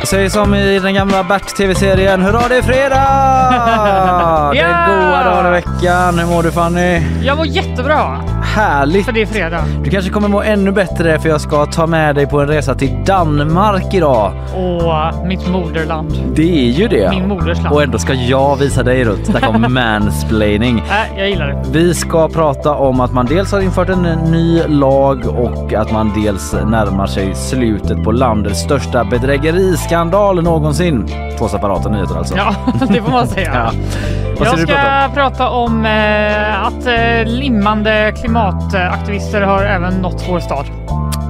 Jag säger som i den gamla Bert-tv-serien, hurra det är fredag! Det Ja! är goa dagar i veckan. Hur mår du Fanny? Jag mår jättebra, Härligt! för det är fredag. Du kanske kommer må ännu bättre för jag ska ta med dig på en resa till Danmark idag. Och mitt moderland. Det är ju det. Min moders land. Och ändå ska jag visa dig runt. Snacka om mansplaining. Äh, jag gillar det. Vi ska prata om att man dels har infört en ny lag och att man dels närmar sig slutet på landets största bedrägeriskandal någonsin. Två separata nyheter alltså. Ja, det får man säga. Ja. Vad ska Jag du ska prata om? prata om eh, att eh, limmande klimataktivister har även nått vår stad.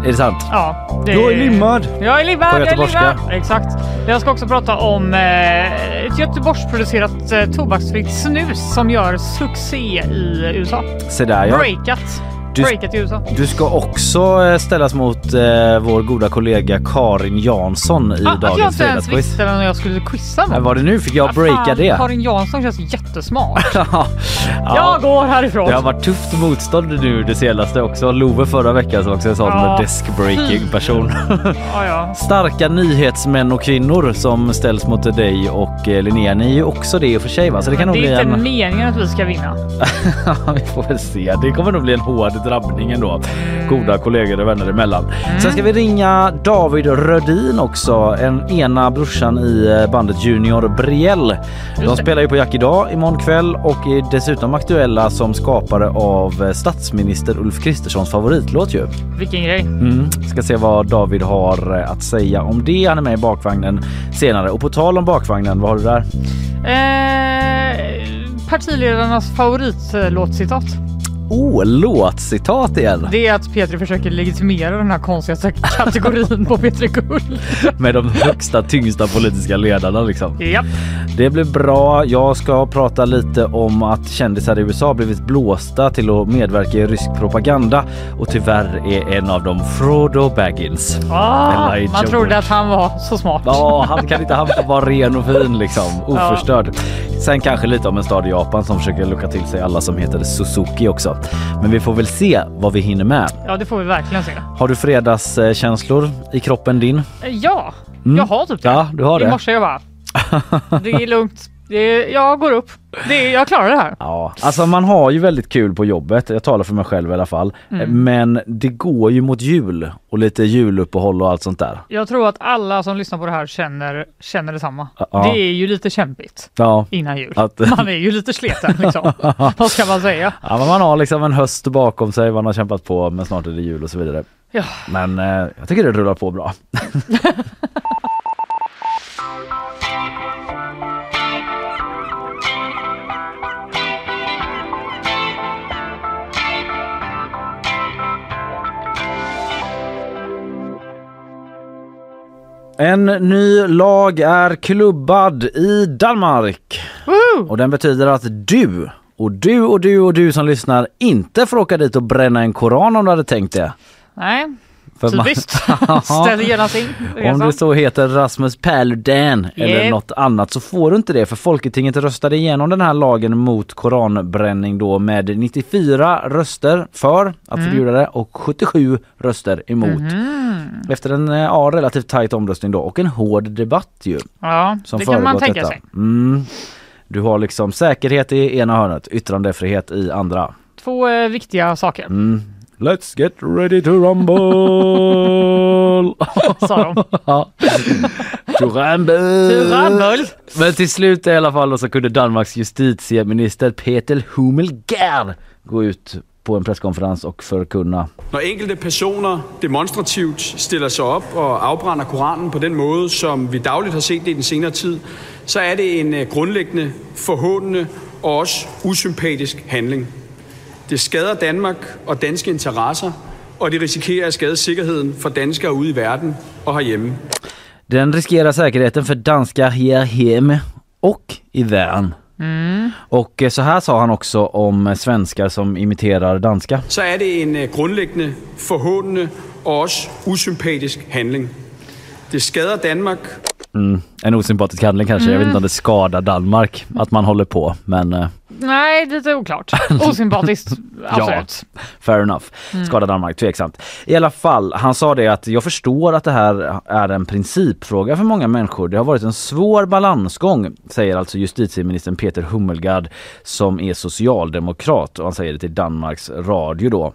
Är det sant? Ja, det Jag är limmad. Jag är limmad! På jag är göteborgska. limmad. Exakt. Jag ska också prata om eh, ett Göteborgsproducerat eh, tobaksfritt snus som gör succé i USA. Se där ja. Breakat. Du- Breakat i USA. Du ska också eh, ställas mot eh, vår goda kollega Karin Jansson i Ah, att jag dagens inte ens fredagsquiz. visste vem jag skulle quizza Vad mot. var det nu? Fick Ah, jag breaka fan, det? Karin Jansson känns jättesmart. ja. Jag går härifrån. Det har varit tufft motstånd nu det senaste också. Love förra veckan som också en sån Ja, desk-breaking person. Ja, ja. Starka nyhetsmän och kvinnor som ställs mot dig och eh, Linnea. Ni är ju också det i och för sig va? Så det kan nog Men det bli är inte en... meningen att vi ska vinna. Vi får väl se. Det kommer nog bli en hård drabbning ändå. Goda kollegor och vänner emellan. Mm. Sen ska vi ringa David Rödin också. En ena brorsan i eh, bandet Junior Briell. De Just det. spelar ju på Jack idag imorgon kväll och är dessutom aktuella som skapare av eh, statsminister Ulf Kristerssons favoritlåt ju. Vilken grej. Mm. Ska se vad David har eh, att säga om det. Han är med i bakvagnen senare. Och på tal om bakvagnen, vad har du där? Eh, partiledarnas favoritlåtcitat. Oh, låtcitat igen! Det är att Petri försöker legitimera den här konstiga kategorin på Petri Guld. Med de högsta, tyngsta politiska ledarna liksom. Japp. Det blir bra. Jag ska prata lite om att kändisar i USA blivit blåsta till att medverka i rysk propaganda. Och tyvärr är en av dem Frodo Baggins. Ah, Elijah man trodde Wood. att han var så smart. Ja, han kan inte han få vara ren och fin liksom. Oförstörd. Sen kanske lite om en stad i Japan som försöker locka till sig alla som heter Suzuki också. Men vi får väl se vad vi hinner med. Ja, det får vi verkligen se. Har du fredagskänslor i kroppen din? Eh, Ja, jag har typ det. Mm. Ja, du har I det. morse jag bara, det är lugnt. Det är, jag går upp. Det är, jag klarar det här. Ja, alltså man har ju väldigt kul på jobbet. Jag talar för mig själv i alla fall. Eh, Men det går ju mot jul och lite juluppehåll och allt sånt där. Jag tror att alla som lyssnar på det här känner, känner detsamma. Ja. Det är ju lite kämpigt Ja. innan jul. Att- Man är ju lite sliten liksom. Vad ska man säga? Ja, men man har liksom en höst bakom sig, man har kämpat på men snart är det jul och så vidare. Ja. Men eh, jag tycker det rullar på bra. En ny lag är klubbad i Danmark. Och den betyder att du och du och du och du som lyssnar inte får åka dit och bränna en koran om du hade tänkt det. Nej, För man- Typiskt. Ja. Ställer gärna sig in. Om det så heter Rasmus Paludan eller Yep. något annat så får du inte det för Folketinget röstade igenom den här lagen mot koranbränning då med 94 röster för att Mm. förbjuda det och 77 röster emot. Mhm. Efter en eh, ja, relativt tajt omröstning då och en hård debatt ju. Ja, Som det kan man föregått tänka detta. sig. Mm. Du har liksom säkerhet i ena hörnet, yttrandefrihet i andra. Två eh, viktiga saker, Mm. Let's get ready to rumble! sa de. Ja. To rumble. To rumble. Men till slut i alla fall då så kunde Danmarks justitieminister Peter Hummelgaard gå ut på en presskonferens och förkunna. Når enkelte personer demonstrativt stiller sig op og afbrænder Koranen på den måde, som vi dagligt har set det i den senere tid, så er det en øh, grundlæggende, forhåndende og også usympatisk handling. Det skader Danmark og danske interesser, og det risikerer at skade sikkerheden for danskere ude i verden og herhjemme. Den riskerar säkerheten för danskar här hemma och i världen. Och eh, så här sa han också om svenskar som imiterar danska. Så er det en øh, grundlæggende, forhåndende og også usympatisk handling. Det skader Danmark Mm, En osympatisk handling kanske. Jag vet inte om det skadar Danmark att man håller på men eh, Nej, lite oklart. Osympatiskt, absolut. Fair enough. Skada Danmark, tveksamt. I alla fall, han sa det att jag förstår att det här är en principfråga för många människor. Det har varit en svår balansgång, säger alltså justitieministern Peter Hummelgard som är socialdemokrat och han säger det till Danmarks radio då.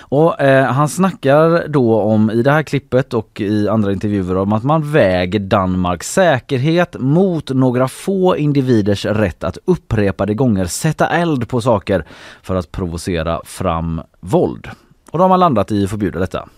Och eh, han snackar då om i det här klippet och i andra intervjuer om att man väger Danmarks säkerhet mot några få individers rätt att upprepade gånger sätta eld på saker för att provocera fram våld. Och då har man landat i att förbjuda detta.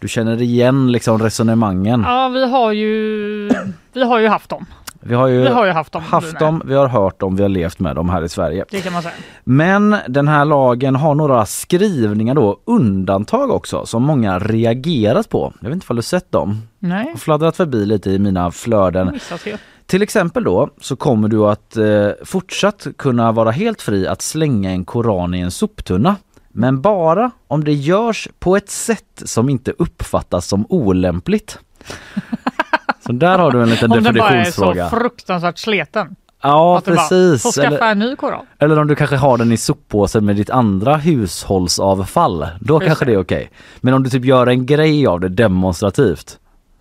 Du känner igen liksom resonemangen. Mm. Ja, vi har ju, vi har ju haft dem. Vi har ju, Vi har ju haft dem. haft dem, vi har hört dem, vi har levt med dem här i Sverige. Det kan man säga. Men den här lagen har några skrivningar då, undantag också, som många reagerat på. Jag vet inte om du sett dem? Nej, Har Fladdrat förbi lite i mina flöden. missat helt. Till exempel då så kommer du att eh, fortsatt kunna vara helt fri att slänga en koran i en soptunna. Men bara om det görs på ett sätt som inte uppfattas som olämpligt. Så där har du en liten Om den bara är så definitionsfråga. fruktansvärt sleten. Ja att du bara får precis. skaffa Eller- en ny koral. eller om du kanske har den i soppåsen med ditt andra hushållsavfall. Då Just kanske det. det är okej. Men om du typ gör en grej av det demonstrativt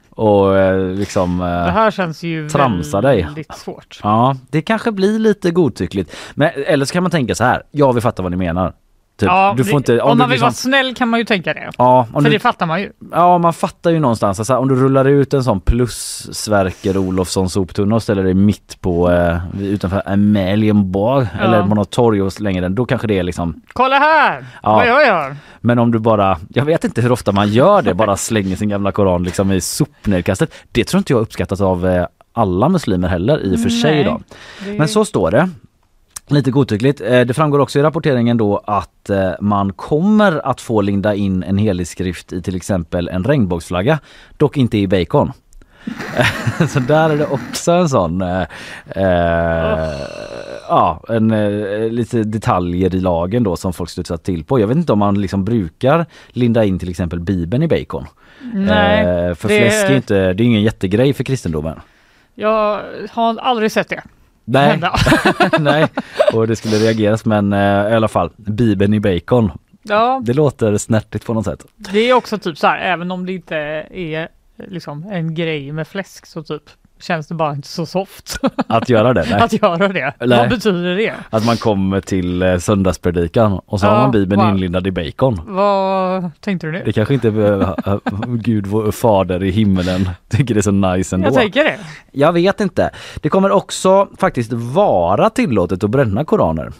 och eh, liksom... eh, Det här känns ju Tramsa dig. väldigt svårt. Ja, det kanske blir lite godtyckligt. Men, eller så kan man tänka så här. Ja, vi fattar vad ni menar. Typ, Ja, du får det- inte... om, du man vill liksom- vara snäll kan man ju tänka det. Ja, om För du, det fattar man ju. ja, man fattar ju någonstans. Alltså, om du rullar ut en sån plus Sverker Olofsson soptunna och ställer dig mitt på eh, utanför Amalienborg Ja. eller på något torg och slänger den, då kanske det är liksom Kolla här Ja. vad jag gör. Men om du bara, jag vet inte hur ofta man gör det, bara slänger sin gamla koran liksom i sopnedkastet. Det tror inte jag uppskattas av eh, alla muslimer heller i och för sig Nej, då. Men så står det. Lite godtyckligt. Eh, Det framgår också i rapporteringen då att eh, man kommer att få linda in en helig skrift i till exempel en regnbågsflagga, dock inte i bacon. Så där är det också en sån eh, eh, ja, en, eh, lite detaljer i lagen då som folk studsat till på. Jag vet inte om man liksom brukar linda in till exempel Bibeln i bacon. Nej, Eh, för det- fläsk är ju inte, det är ingen jättegrej för kristendomen. Jag har aldrig sett det Nej, hända. nej. Och det skulle reageras men eh, i alla fall, Bibeln i bacon. Ja, Det låter snärtigt på något sätt. det är också typ så här, även om det inte är liksom en grej med fläsk så typ känns det bara inte så soft Att göra det, nej. att göra det. Nej. Vad betyder det? Att man kommer till eh, söndagspredikan och så har Ja, man Bibeln wow. inlindad i bacon. Vad tänkte du nu? Det kanske inte eh, eh, Gud vår fader i himmelen tycker det är så nice ändå. Jag tänker det. Jag vet inte. Det kommer också faktiskt vara tillåtet att bränna koraner.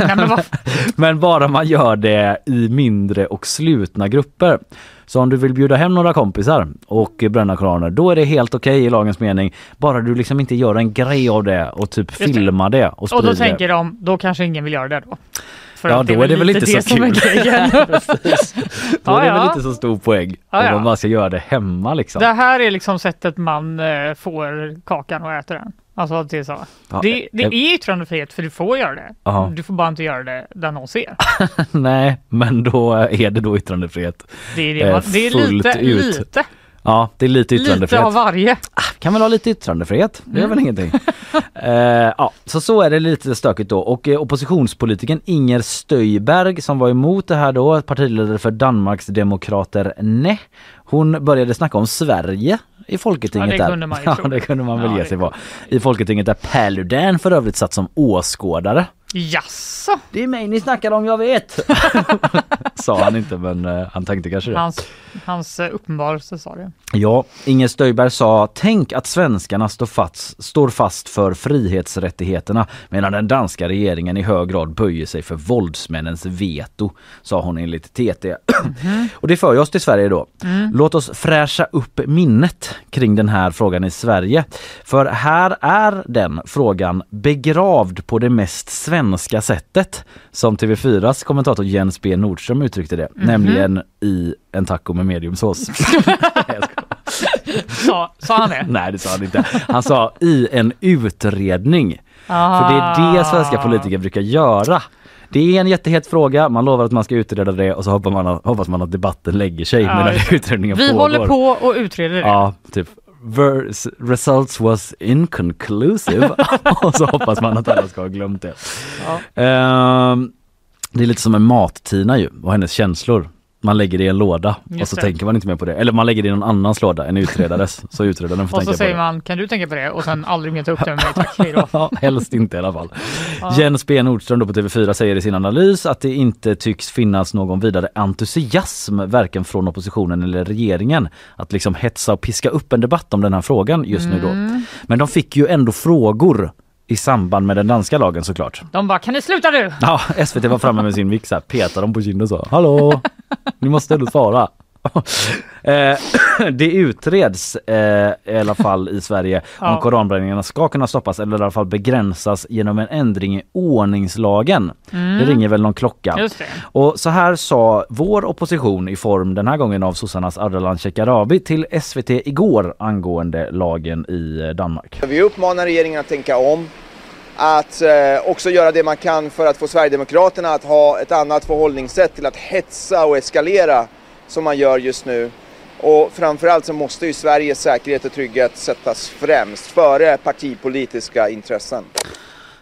Nej, men vad, Men bara man gör det i mindre och slutna grupper. Så om du vill bjuda hem några kompisar och bränna koraner, då är det helt okej i lagens mening. Bara du liksom inte gör en grej av det och typ det. filmar det och och sprider då tänker de, då kanske ingen vill göra det då. För Ja, att då är det väl lite inte det så som är kul. grejen. Då är det "Ah, Ja, väl ja. inte så stor poäng Ja, ja. om man ska göra det hemma liksom. Det här är liksom sättet man eh, får kakan och äter den. Alltså det är så. Ja, eh, det det jag- är yttrandefrihet för du får göra det. Ja. Du får bara inte göra det där någon ser. Nej, men då är det då yttrandefrihet. Det är, Eh, det man, det är fullt lite, ut. lite, Ja, det är lite lite yttrandefrihet. av varje. kan väl ha lite yttrandefrihet, det är Mm. väl ingenting. Eh, ja, så så är det lite stökigt då. Och eh, oppositionspolitiken Inger Stöjberg som var emot det här då, partiledare för Danmarks demokrater NE. Hon började snacka om Sverige i Folketinget Ja, det där. kunde man ju ja, tro. det kunde man väl Ja, ge det sig kunde på. I Folketinget där Paludan för övrigt satt som åskådare. Jaså? Det är mig ni snackar om, jag vet! Sa han inte men eh, han tänkte kanske det. Hans, hans eh, uppenbarelse sa det. Ja, Inger Stöjberg sa tänk att svenskarna står fast, står fast för frihetsrättigheterna medan den danska regeringen i hög grad böjer sig för våldsmännens veto, sa hon enligt TT. Och det för ju oss till Sverige då. Låt oss fräscha upp minnet kring den här frågan i Sverige. För här är den frågan begravd på det mest svenska sättet som TV4s kommentator Jens B Nordström uttryckte det, nämligen i en taco med mediumsås. Sa, sa han det? Nej det sa han inte. Han sa i en utredning. För det är Ah. det svenska politiker brukar göra. Det är en jättehet fråga, man lovar att man ska utreda det och så hoppas man, hoppas man att debatten lägger sig Ja, medan just utredningen Vi pågår. håller på och utreder det. Ja, typ. Vers, results was inconclusive. och så hoppas man att alla ska ha glömt det. Ehm, det är lite som en mat-Tina ju och hennes känslor. Man lägger det i en låda och Just så det. tänker man inte mer på det. Eller man lägger det i någon annans låda än utredares. Så utredaren får Och tänka så på det. säger man, kan du tänka på det? Och sen aldrig mer ta upp det med mig, tack, hej då. Ja, helst inte i alla fall. Jens B Nordström då på TV4 säger i sin analys att det inte tycks finnas någon vidare entusiasm varken från oppositionen eller regeringen att liksom hetsa och piska upp en debatt om den här frågan just nu då. Men de fick ju ändå frågor i samband med den danska lagen såklart. De bara, kan ni sluta nu? Ja, SVT var framme med sin vixa, petade dem på kinden och sa Hallå, ni måste ändå svara. Eh, det utreds eh, i alla fall i Sverige om Ja. koranbränningarna ska kunna stoppas eller i alla fall begränsas genom en ändring i ordningslagen. Det ringer väl någon klocka. Mm. Just det. Och så här sa vår opposition i form den här gången av Sossarnas Ardalan Shekarabi till SVT igår angående lagen i eh, Danmark. Vi uppmanar regeringen att tänka om, att eh, också göra det man kan för att få Sverigedemokraterna att ha ett annat förhållningssätt till att hetsa och eskalera som man gör just nu. Och framförallt så måste ju Sveriges säkerhet och trygghet sättas främst, före partipolitiska intressen.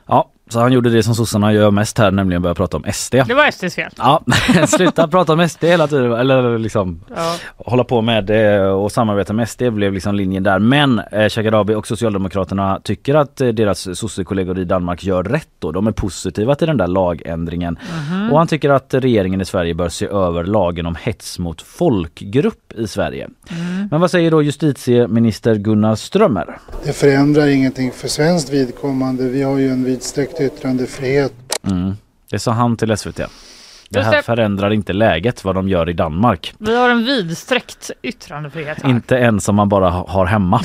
Ja, så han gjorde det som sossarna gör mest här, nämligen börja prata om SD. Det var SDs fel. Ja, sluta prata om SD hela tiden. Eller liksom Ja. hålla på med det och samarbeta med SD blev liksom linjen där. Men eh, Shekarabi och Socialdemokraterna tycker att eh, deras sossekollegor i Danmark gör rätt då. De är positiva till den där lagändringen. Mhm. Och han tycker att regeringen i Sverige bör se över lagen om hets mot folkgrupp i Sverige. Mm. Men vad säger då justitieminister Gunnar Strömmer? Det förändrar ingenting för svenskt vidkommande. Vi har ju en vidsträckt yttrandefrihet. Mm. Det sa han till SVT. Det Just här det. förändrar inte läget vad de gör i Danmark. Vi har en vidsträckt yttrandefrihet här. Inte en som man bara har hemma.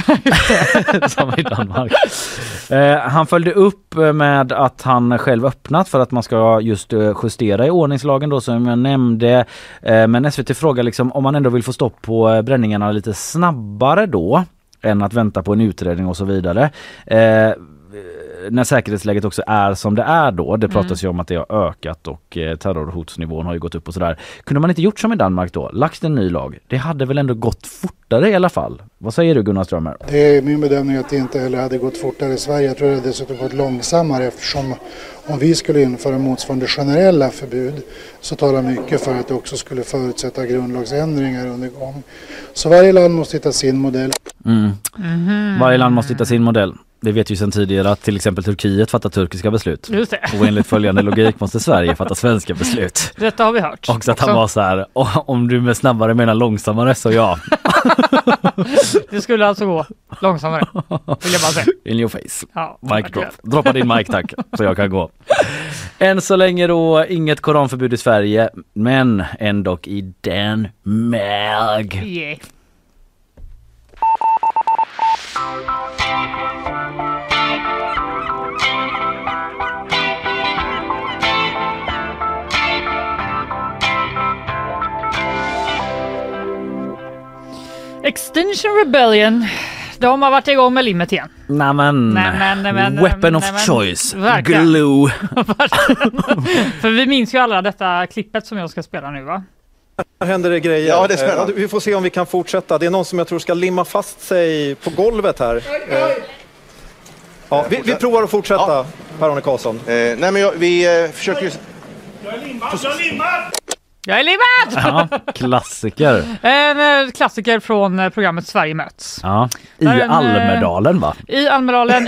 som i Danmark. Eh, han följde upp med att han själv öppnat för att man ska just eh, justera i ordningslagen då som jag nämnde. Eh, men SVT frågar liksom om man ändå vill få stopp på eh, bränningarna lite snabbare då än att vänta på en utredning och så vidare. Eh, när säkerhetsläget också är som det är då. Det pratas ju om att det har ökat och eh, terrorhotsnivån har ju gått upp och sådär. Kunde man inte gjort som i Danmark då? Lagt en ny lag? Det hade väl ändå gått fortare i alla fall? Vad säger du Gunnar Strömmer? Det är min bedömning att det inte heller hade gått fortare i Sverige. Jag tror det hade dessutom gått långsammare eftersom om vi skulle införa motsvarande generella förbud så talar mycket för att det också skulle förutsätta grundlagsändringar under gång. Så varje land måste hitta sin modell. Varje land måste hitta sin modell. Vi vet ju sedan tidigare att till exempel Turkiet fattar turkiska beslut. Just det. Och enligt följande logik måste Sverige fatta svenska beslut. Detta har vi hört. Och så att han var så här, "Åh, om du med snabbare menar långsammare så ja, Det skulle alltså gå långsammare, vill jag bara säga. in your face. Ja, Mic drop. verkligen. Droppa din mic tack, så jag kan gå. Än så länge då inget koranförbud i Sverige, men ändå i Danmark. Yeah. Extinction Rebellion de har varit igång med limmet igen. Nej men, Nej, men- nej, men- weapon of nej, men- choice. Verkligen. Glue. För vi minns ju alla detta klippet som jag ska spela nu va? Här händer det grejer. Ja, det är spännande. Eh, Vi får se om vi kan fortsätta. Det är någon som jag tror ska limma fast sig på golvet här. Eh, Ja, vi, vi provar att fortsätta, Per-Arne Karlsson. Eh, nej, men jag, vi eh, försöker ju... Jag är limmad! Ja, klassiker. En eh, klassiker från eh, programmet Sverige möts. Ja. I Där är en, eh, Almedalen va? I Almedalen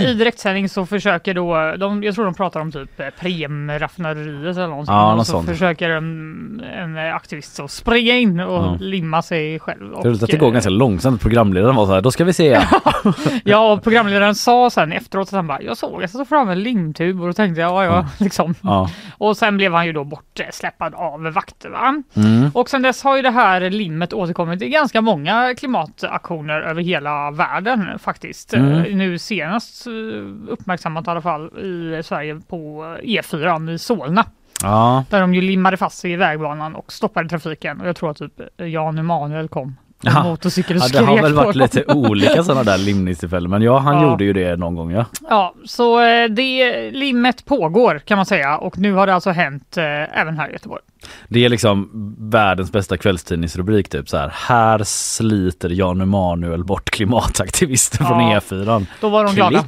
i direktsändning så försöker då, eh, de, jag tror de pratar om typ eh, Premraffinaderiet eller någonting. Ja, och något så sånt. försöker en, en eh, aktivist så springa in och Ja. limma sig själv. Det är roligt att det Och, går eh, ganska långsamt. Programledaren var så här, då ska vi se. Ja, och programledaren sa sen efteråt att han bara, jag såg att jag tog fram en limtub och då tänkte jag, ja, ja, liksom. Ja. Och sen blev han ju då bortsläppad av vakter. Va? Mm. Och sen dess har ju det här limmet återkommit i ganska många klimataktioner över hela världen faktiskt. Mm. Eh, Nu senast eh, uppmärksammat i alla fall i Sverige på E4 i Solna. Ja. Där de ju limmade fast sig i vägbanan och stoppade trafiken. Och jag tror att typ Jan Emanuel kom på Jaha. motorcykel och Ja, det skrek har väl på varit dem. lite olika sådana där limningstillfällen men ja han Ja. gjorde ju det någon gång ja. Ja, så eh, det limmet pågår kan man säga och nu har det alltså hänt eh, även här i Göteborg. Det är liksom världens bästa kvällstidningsrubrik typ så här. Här sliter Jan Emanuel bort klimataktivister från E Ja. E4. Då var de glada.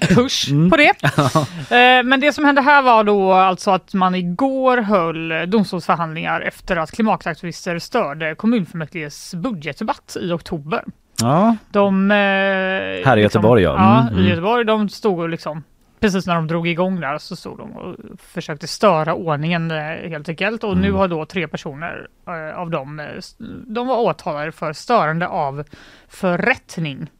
Push på det. Eh, Men det som hände här var då alltså att man igår höll domstolsförhandlingar efter att klimataktivister störde kommunfullmäktiges budgetdebatt i oktober. Ja. De, eh, Här i Göteborg, ja. liksom, Mm, Ja, mm. i Göteborg. De stod och liksom Precis när de drog igång där så stod de och försökte störa ordningen eh, helt enkelt. Och Mm. nu har då tre personer eh, av dem, eh, s- de var åtalade för störande av förrättning.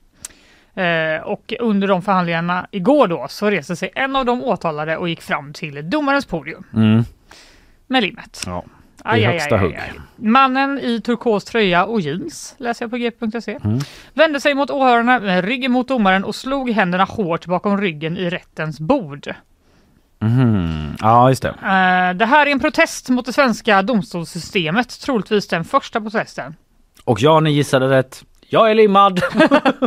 Eh, och under de förhandlingarna igår då så reste sig en av de åtalade och gick fram till domarens podium Mm. med limmet. ja. Aj, I aj, högsta aj, hugg. aj, aj. Mannen i turkos tröja och jeans, läser jag på g.se, Mm. vände sig mot åhörarna med ryggen mot domaren och slog händerna hårt bakom ryggen i rättens bord. Mhm. Ja just det. Eh, det här är en protest mot det svenska domstolssystemet, troligtvis den första protesten. Och ja ni gissade rätt. Jag är limmad.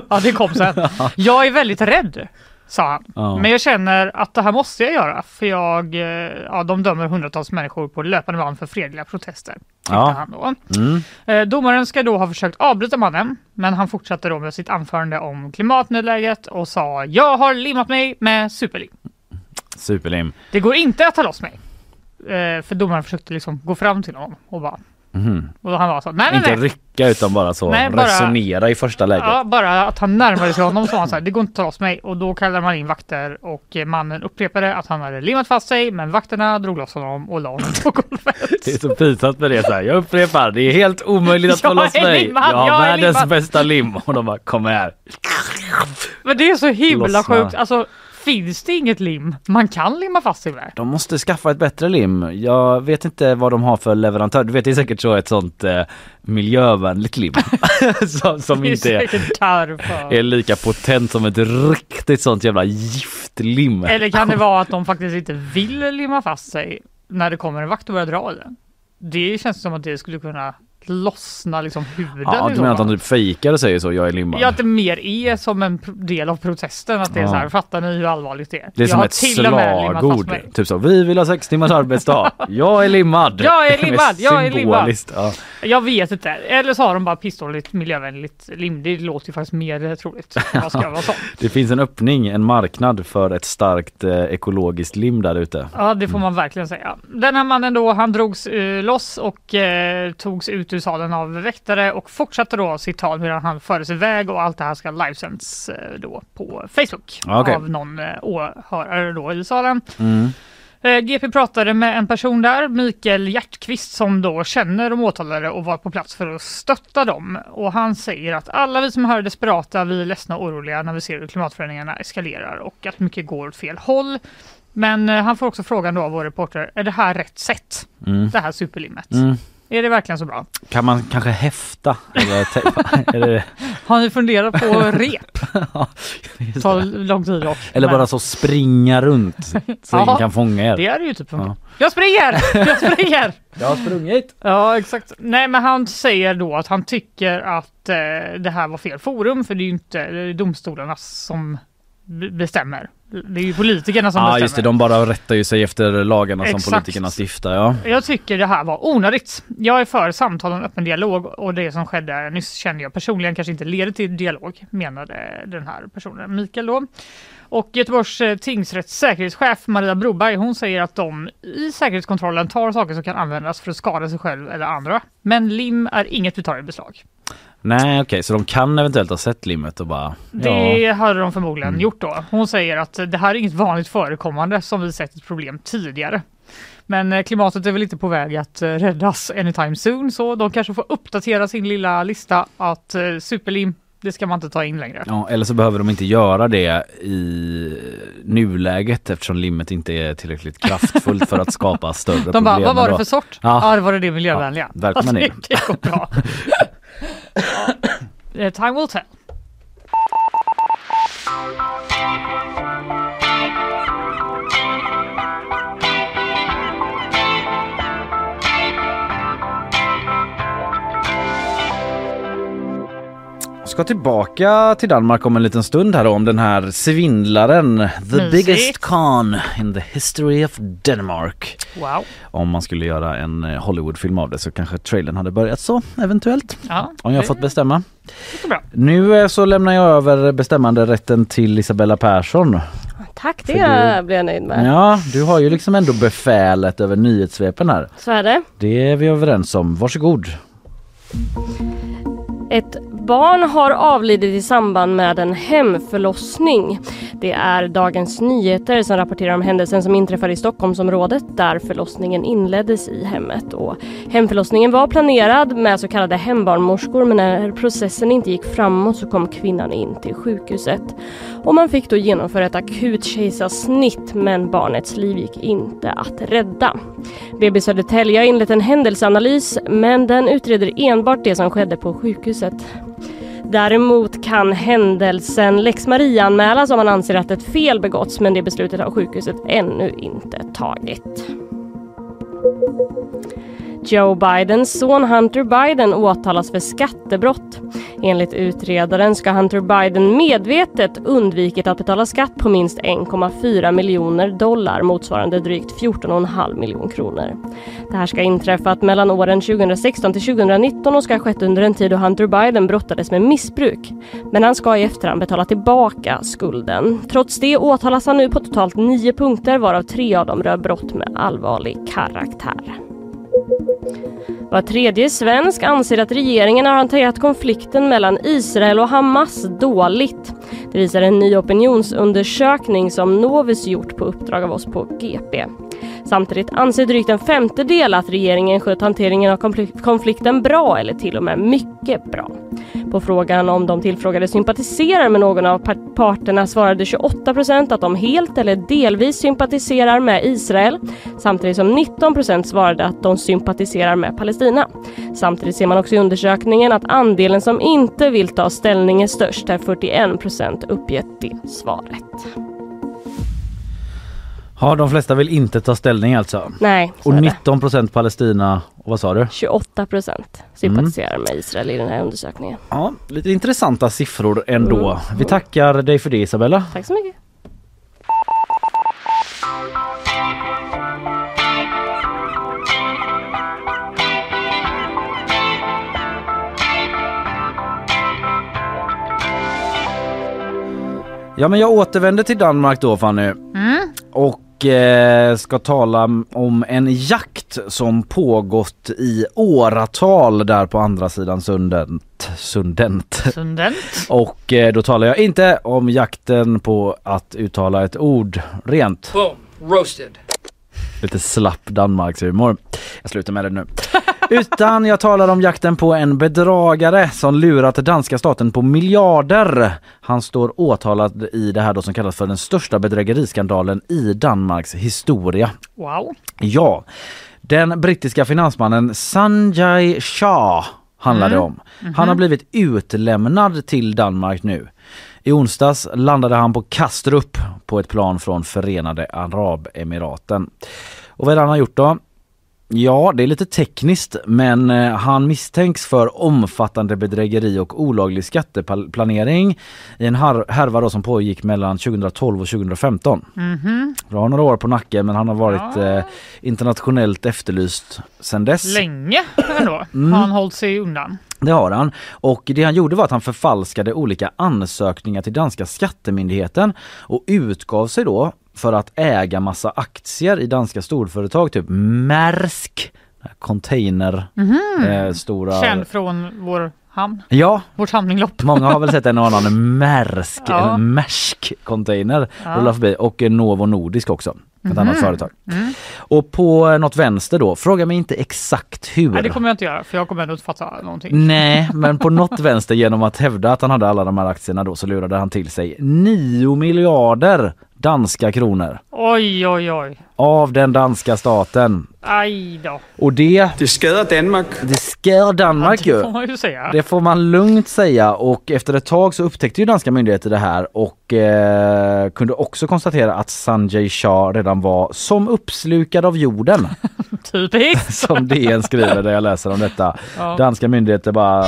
Ja, det kom sen. Jag är väldigt rädd, sa han. Ja. Men jag känner att det här måste jag göra, för jag, eh, ja, de dömer hundratals människor på löpande band för fredliga protester. tyckte Ja. Mm. Han då. Eh, Domaren ska då ha försökt avbryta mannen, men han fortsatte då med sitt anförande om klimatnödläget och sa “Jag har limmat mig med superlim. Superlim. Det går inte att ta loss mig.” Eh, För domaren försökte liksom gå fram till honom och bara... Och han var så “Nej, nej, Mhm. Inte nej!” rycka utan bara så Nej, bara- resonera i första läget. Ja, bara att han närmade sig honom så var han så här, det går inte att ta loss mig. Och då kallade man in vakter och eh, mannen upprepade att han hade limmat fast sig, men vakterna drog loss honom och la honom på golvet. Det är så pinsamt med det så här. Jag upprepar, det är helt omöjligt att få Jag loss är mig. limmad, jag har jag är världens limmad. bästa lim. Och de bara, kom här. Men det är så himla Lossna. sjukt. Alltså, finns det inget lim man kan limma fast sig med? De måste skaffa ett bättre lim. Jag vet inte vad de har för leverantör. Du vet, det är säkert så ett sånt eh, miljövänligt lim. som som Det är inte är, säkert därför. är lika potent som ett riktigt sånt jävla giftlim. Eller kan det vara att de faktiskt inte vill limma fast sig när det kommer en vakt och börjar dra i den? Det känns som att det skulle kunna lossna liksom huden. Ja, i du så menar att fall. de typ fejkar och säger så, jag är limmad. Ja, att det mer är som en pro- del av protesten. Att det är Ja. så här, fattar ni hur allvarligt det är? det är Jag som har ett till och med limmat fast slagord. mig. Typ så, vi vill ha sex timmars arbetsdag. Jag är limmad. Jag är Det limmad, jag är limmad. symboliskt, Ja. Jag vet inte. Eller så har de bara pissdåligt miljövänligt lim. Det låter ju faktiskt mer troligt. Vad ska jag vara sån? Det finns en öppning, en marknad för ett starkt eh, ekologiskt lim där ute. Ja, det får man verkligen säga. Den här mannen då, han drogs eh, loss och eh, togs ut ur salen av väktare och fortsatte då sitt tal medan han fördes iväg och allt det här ska livesänds eh, då på Facebook Ja, okej. Mm. av någon eh, åhörare då i salen. Eh, GP pratade med en person där, Mikael Hjertqvist, som då känner de åtalade och var på plats för att stötta dem. Och han säger att alla vi som hör är desperata, vi är ledsna och oroliga när vi ser hur klimatförändringarna eskalerar och att mycket går åt fel håll. Men eh, han får också frågan då av vår reporter, är det här rätt sätt? Mm. Det här superlimmet. Är det verkligen så bra? Kan man kanske häfta? Eller te- är det, Har ni funderat på rep? Just det. Tar lång tid dock. Eller Men bara så springa runt så ingen Ja. kan fånga er. Det är ju typ funkat. Jag springer! Jag springer! Jag har sprungit. Ja, exakt. Nej, men han säger då att han tycker att eh, det här var fel forum för det är ju inte det är domstolarna som b- bestämmer. Det är ju politikerna som Ja ah, bestämmer. just det, de bara rättar ju sig efter lagarna Exakt. som politikerna stiftar. Ja. Jag tycker det här var onödigt. Jag är för samtal och en öppen dialog och det som skedde nyss kände jag personligen kanske inte leder till dialog, menade den här personen, Mikael då. Och Göteborgs eh, tingsrätts säkerhetschef Maria Broberg, hon säger att de i säkerhetskontrollen tar saker som kan användas för att skada sig själv eller andra. Men lim är inget vi tar i beslag. Nej okej, så de kan eventuellt ha sett limmet och bara... Det Ja. Mm. hade de förmodligen gjort då. Hon säger att det här är inget vanligt förekommande som vi sett ett problem tidigare. Men eh, klimatet är väl inte på väg att eh, räddas anytime soon så de kanske får uppdatera sin lilla lista att eh, superlim, det ska man inte ta in längre. Ja, eller så behöver de inte göra det i nuläget eftersom limmet inte är tillräckligt kraftfullt för att skapa större De problem. bara, vad var det ändå." för sort? Ja. Ja, det var det det miljövänliga. Ja, välkommen det, in. det går bra. ja. Eh, Time will tell. Ska tillbaka till Danmark om en liten stund här då, om den här svindlaren. The Mysigt. biggest con in the history of Denmark. Wow. Om man skulle göra en eh, Hollywoodfilm av det så kanske trailern hade börjat så eventuellt. Ja, Om jag fått bestämma. det är bra. Nu eh, så lämnar jag över bestämmanderätten till Isabella Persson. Tack, det För du- blir jag nöjd med. Ja, du har ju liksom ändå befälet över nyhetssvepen här. Så är det. Det är vi överens om. Varsågod. Ett barn har avlidit i samband med en hemförlossning. Det är Dagens Nyheter som rapporterar om händelsen som inträffade i Stockholmsområdet där förlossningen inleddes i hemmet. Och hemförlossningen var planerad med så kallade hembarnmorskor men när processen inte gick framåt så kom kvinnan in till sjukhuset. Och man fick då genomföra ett akut kejsarsnitt men barnets liv gick inte att rädda. BB Södertälje har inlett en händelseanalys men den utreder enbart det som skedde på sjukhuset. Däremot kan händelsen lex Maria anmälas om man anser att ett fel begåtts men det beslutet har sjukhuset ännu inte tagit. Joe Bidens son Hunter Biden åtalas för skattebrott. Enligt utredaren ska Hunter Biden medvetet undvikit att betala skatt på minst 1,4 miljoner dollar motsvarande drygt 14,5 miljoner kronor. Det här ska ha inträffat mellan åren 2016 till 2019 och ska ha skett under en tid då Hunter Biden brottades med missbruk. Men han ska i efterhand betala tillbaka skulden. Trots det åtalas han nu på totalt nio punkter varav tre av dem rör brott med allvarlig karaktär. Var tredje svensk anser att regeringen har hanterat konflikten mellan Israel och Hamas dåligt. Det visar en ny opinionsundersökning som Novus gjort på uppdrag av oss på GP. Samtidigt anser drygt en femtedel att regeringen skött hanteringen av konflik- konflikten bra eller till och med mycket bra. På frågan om de tillfrågade sympatiserar med någon av par- parterna svarade 28 procent att de helt eller delvis sympatiserar med Israel samtidigt som 19 procent svarade att de sympatiserar med Palestina. Samtidigt ser man också i undersökningen att andelen som inte vill ta ställning är störst där 41 procent uppgett det svaret. Ja, de flesta vill inte ta ställning alltså. Nej, så Och är det. 19 procent Palestina, och vad sa du? 28 procent sympatiserar med Israel i den här undersökningen. Ja, lite intressanta siffror ändå. Mm. Vi tackar dig för det Isabella. Tack så mycket. Ja men jag återvänder till Danmark då Fanny. Och eh, ska tala m- om en jakt som pågått i åratal där på andra sidan sundent. Sundent. Sundent. Och eh, då talar jag inte om jakten på att uttala ett ord rent. Roasted. Lite slapp Danmarkshumor. Jag slutar med det nu. Utan jag talar om jakten på en bedragare som lurat danska staten på miljarder. Han står åtalad i det här då som kallas för den största bedrägeriskandalen i Danmarks historia. Wow. Ja, den brittiska finansmannen Sanjay Shah handlar det om. Han har blivit utlämnad till Danmark nu. I onsdags landade han på Kastrup på ett plan från Förenade Arabemiraten. Och vad är det han har gjort då? Ja, det är lite tekniskt men eh, han misstänks för omfattande bedrägeri och olaglig skatteplanering i en har- härva då som pågick mellan 2012 och 2015. Då har han några år på nacken men han har varit eh, internationellt efterlyst sedan dess. Länge ändå Mm. har han hållit sig undan. Det har han. Och det han gjorde var att han förfalskade olika ansökningar till danska skattemyndigheten och utgav sig då för att äga massa aktier i danska storföretag, typ Maersk, container, eh, stora... Mhm. Känd från vår hamn, Ja, vårt hamninlopp. Många har väl sett en och annan Maersk, Ja. en Maersk-container rulla förbi och eh, Novo Nordisk också. Ett annat Mhm. företag. Mm. Och på eh, något vänster då, fråga mig inte exakt hur. Nej, det kommer jag inte göra för jag kommer ändå inte fatta någonting. Nej, men på något vänster genom att hävda att han hade alla de här aktierna då så lurade han till sig 9 miljarder danska kronor Oj, oj, oj. av den danska staten. Aj då. Och det, Det skader Danmark. det skär Danmark Det ju. får man ju säga. Det får man lugnt säga och efter ett tag så upptäckte ju danska myndigheter det här och eh, kunde också konstatera att Sanjay Shah redan var som uppslukad av jorden. Typiskt. som DN skriver där jag läser om detta. Ja. Danska myndigheter bara...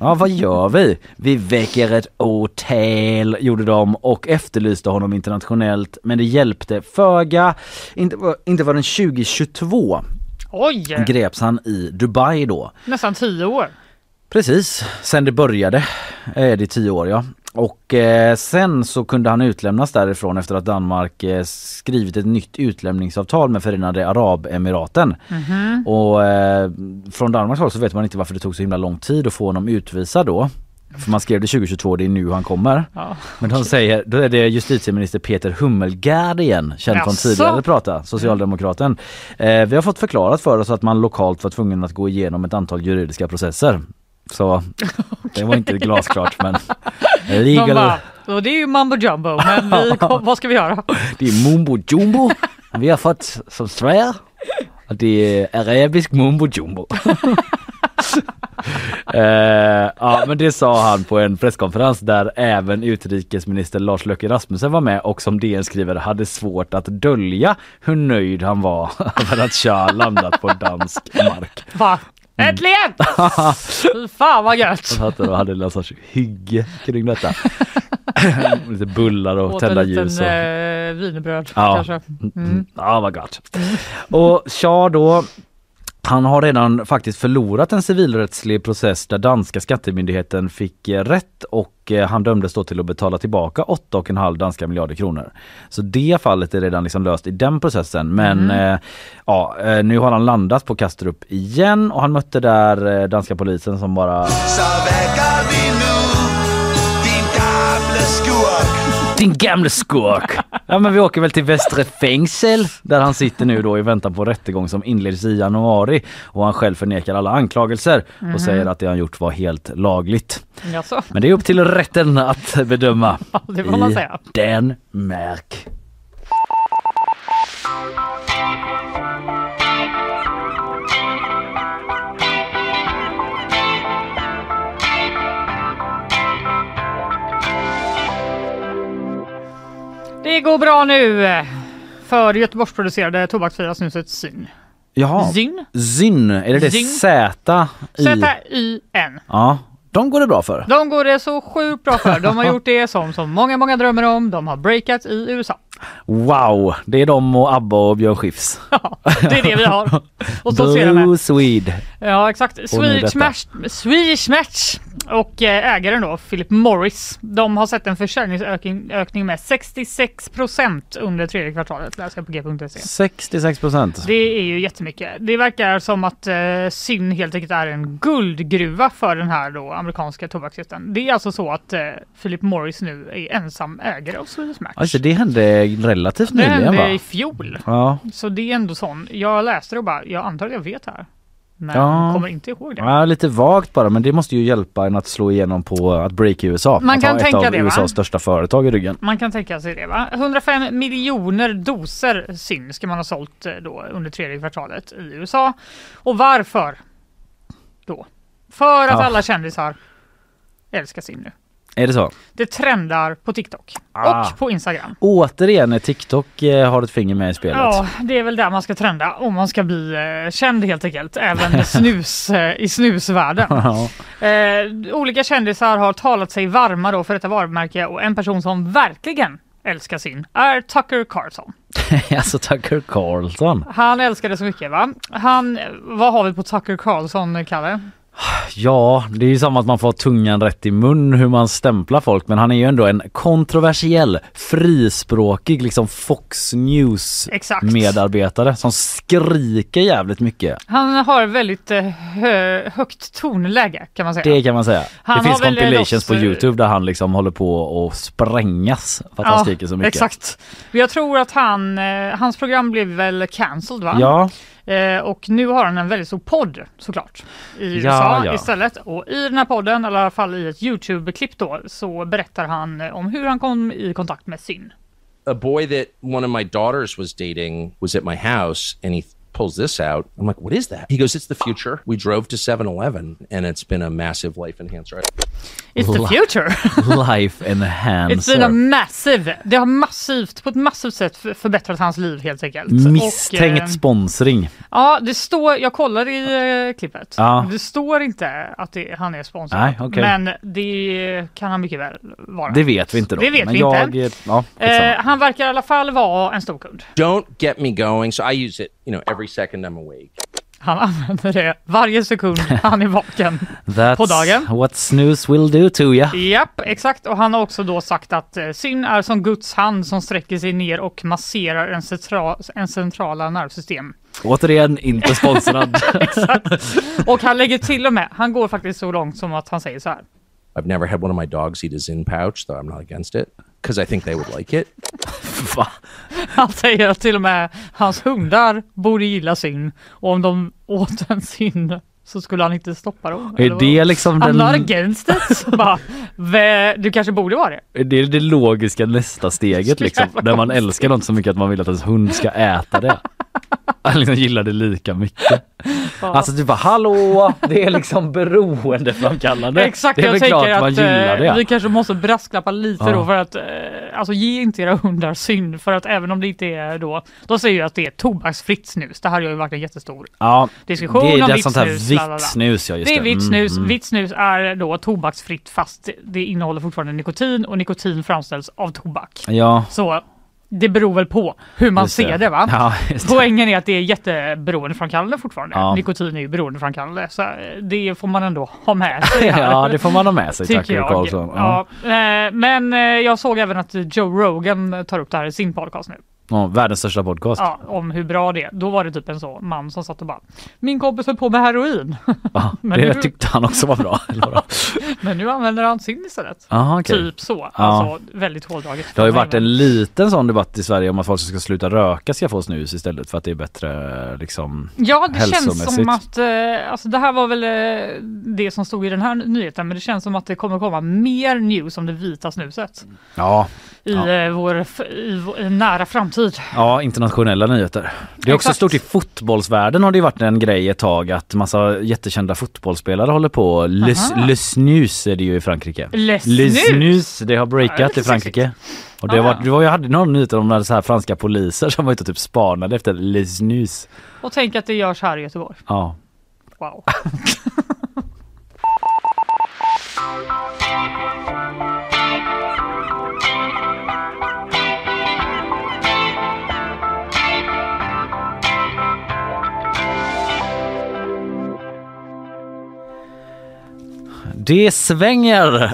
Ja, vad gör vi? Vi väcker ett åtal, gjorde de och efterlyste honom internationellt. Men det hjälpte föga. Inte, inte förrän 2022 Oj! greps han i Dubai då. Nästan tio år. Precis, sen det började är det tio år ja. Och eh, sen så kunde han utlämnas därifrån efter att Danmark eh, skrivit ett nytt utlämningsavtal med Förenade Arabemiraten. Och eh, från Danmarks håll så vet man inte varför det tog så himla lång tid att få honom utvisad då. För man skrev det 2022, det är nu han kommer. Ja. Men de säger, då är det justitieminister Peter Hummelgärd igen, känd från Jaså? Mm. tidigare prata, Socialdemokraten. Eh, vi har fått förklarat för oss att man lokalt var tvungen att gå igenom ett antal juridiska processer. Så det var inte glasklart men De legal, bara, "Ja, det är ju mumbo jumbo, men vi kom, vad ska vi göra? det är mumbo jumbo vi har fått som svär. Och det är arabisk mumbo jumbo. eh, ja men det sa han på en presskonferens där även utrikesminister Lars Løkke Rasmussen var med och som DN skriver hade svårt att dölja hur nöjd han var över att Shah landat på dansk mark. Va? Mm. Äntligen! Fy fan vad gött! Han satt där och hade någon sorts hygge kring detta. lite bullar och Åt en tända liten ljus. Och... eh, wienerbröd Ja. kanske. Mm. Ja vad gott. Och Shah då, han har redan faktiskt förlorat en civilrättslig process där danska skattemyndigheten fick eh, rätt och eh, han dömdes då till att betala tillbaka 8,5 danska miljarder kronor. Så det fallet är redan liksom löst i den processen men eh, ja, eh, nu har han landat på Kastrup igen och han mötte där eh, danska polisen som bara Din gamle skurk! Ja men vi åker väl till Västra Fängsel där han sitter nu då i väntan på rättegång som inleds i januari och han själv förnekar alla anklagelser Mhm. och säger att det han gjort var helt lagligt. Jaså? Men det är upp till rätten att bedöma. det får man säga. I Danmark. Det går bra nu eh, för Göteborgsproducerade tobaksfria snuset Syn. Jaha. Zyn? Zyn. Är det det Zyn. Z i? Z-I-N. Ja. De går det bra för. De går det så sjukt bra för. De har gjort det som, som många, många drömmer om. De har breakat i USA. Wow! Det är de och ABBA och Björn Skifs. Ja, det är det vi har. Och så ser jag med. Blue Swede. Ja exakt, nu Swedish detta. Match, Swedish Match och eh, ägaren då, Philip Morris, de har sett en försäljningsökning ökning med 66% under tredje kvartalet, läser jag på g.se. 66 procent. Det är ju jättemycket. Det verkar som att eh, Syn helt enkelt är en guldgruva för den här då amerikanska tobaksjätten. Det är alltså så att eh, Philip Morris nu är ensam ägare av Swedish Match. Alltså, det hände relativt det nyligen va? hände i fjol. Ja. Så det är ändå sån. Jag läste det och bara, jag antar att jag vet det här. Men Ja. kommer inte ihåg det. Ja, lite vagt bara men det måste ju hjälpa en att slå igenom på att break i USA. Man att kan ha tänka ett av det, va? USAs största företag i ryggen. Man kan tänka sig det va? 105 miljoner doser syn ska man ha sålt eh, då under tredje kvartalet i USA. Och varför? då. För att Ja. alla kändisar älskar Sim nu. Är det så? Det trendar på TikTok Ah. och på Instagram. Återigen är TikTok eh, har ett finger med i spelet. Ja, det är väl där man ska trenda om man ska bli eh, känd helt enkelt. Även snus, eh, i snusvärlden. Ja. Eh, olika kändisar har talat sig varma då för detta varumärke och en person som verkligen älskar sin är Tucker Carlson. alltså Tucker Carlson. Han älskar det så mycket va? Han, vad har vi på Tucker Carlson Kalle? Ja, det är ju samma att man får ha tungan rätt i mun hur man stämplar folk men han är ju ändå en kontroversiell, frispråkig liksom Fox News Exakt. medarbetare som skriker jävligt mycket. Han har väldigt eh, hö, högt tonläge kan man säga. Det kan man säga. Han det finns har väl compilations också- på Youtube där han liksom håller på att sprängas för att han skriker så mycket. Exakt. Men Jag tror att han, eh, hans program blev väl cancelled va? Ja, Eh, och nu har han en väldigt stor podd såklart i Ja, USA ja. istället. Och i den här podden, eller i alla fall i ett Youtube-klipp då, så berättar han eh, om hur han kom i kontakt med sin. a boy that one of my daughters was dating was at my house and he pulls this out. I'm like, what is that? He goes, it's the future. We drove to 7 Eleven and it's been a massive life enhancer. It's the La- future! life It's been a enhancer. massive! Det har massivt, på ett massivt sätt f- förbättrat hans liv helt enkelt. Och, eh, Misstänkt sponsring. ja, det står, jag kollar i eh, klippet. Ja. Det står inte att det, han är sponsrad. Nej, okej. Men det kan han mycket väl vara. Det vet vi inte då. Det vet men vi jag, inte. eh, Ja, skitsamma. Eh, han verkar i alla fall vara en stor kund. Don't get me going. So I use it, you know, every second I'm awake. Han använder det varje sekund han är vaken. That's på dagen. what snooze will do to ya. Japp, exakt. Och han har också då sagt att eh, syn är som Guds hand som sträcker sig ner och masserar en, centra, en centrala nervsystem. Återigen, inte sponsrad. Och han lägger till och med, han går faktiskt så långt som att han säger så här. I've never had one of my dogs eat a Zin pouch, though I'm not against it because I think they would like it. Va? Han säger att till och med hans hundar borde gilla syn och om de åt en syn så skulle han inte stoppa dem. Är det liksom I'm den, not against it. Så bara, "Vä, du kanske borde vara det. är det, det logiska nästa steget liksom? När man älskar något så mycket att man vill att ens hund ska äta det. Han liksom gillar det lika mycket. Alltså du bara hallå, det är liksom beroendeframkallande. Exakt, det är jag väl klart tänker man att gillar eh, vi det. kanske måste brasklappa lite Ja. då för att eh, alltså ge inte era hundar synd för att även om det inte är då, de säger ju att det är tobaksfritt snus. Det här gör ju verkligen jättestor Ja, diskussion det är om det vitt sånt här snus, bla, bla, bla. vitt snus. Ja, just det är vitt snus. Mm, mm. Vitt snus är då tobaksfritt fast det innehåller fortfarande nikotin och nikotin framställs av tobak. Ja, Så det beror väl på hur man just ser det va? Ja, just det. Poängen är att det är jätteberoendeframkallande fortfarande. Ja. Nikotin är ju beroendeframkallande så eh, det får man ändå ha med sig. här. Ja, det får man ha med sig. Tack Tycker jag. Karlsson. Ja. Ja. eh, Men eh, jag såg även att Joe Rogan tar upp det här i sin podcast nu. Ja, världens största podcast. Ja, om hur bra det är. Då var det typ en sån man som satt och bara Min kompis höll på med heroin. Ja, Men det nu- tyckte han också var bra. eller vadå? Men nu använder han sin istället. Aha, Ah, okej. Typ så. Alltså väldigt hårdraget. Det har ju varit en liten sån debatt i Sverige om att folk som ska sluta röka ska få snus istället för att det är bättre liksom. Ja, det känns som hälsomässigt. att eh, alltså det här var väl eh, det som stod i den här nyheten, men det känns som att det kommer komma mer news om det vita snuset Ja, i, Mm. Ja. eh, vår, f- i vår i nära framtid. ja internationella nyheter. Det är också Exakt. stort i fotbollsvärlden har det ju varit en grej ett tag att massa jättekända fotbollsspelare håller på. Le, Aha. le snus är det ju i Frankrike. Le snus, det har Ja, breakat det är i Frankrike. Och det har Ah. varit, det var, jag hade någon nyhet om när så här franska poliser som var ute och typ spanade efter le snus. Och tänk att det görs här i Göteborg. Ja. Wow. Det svänger!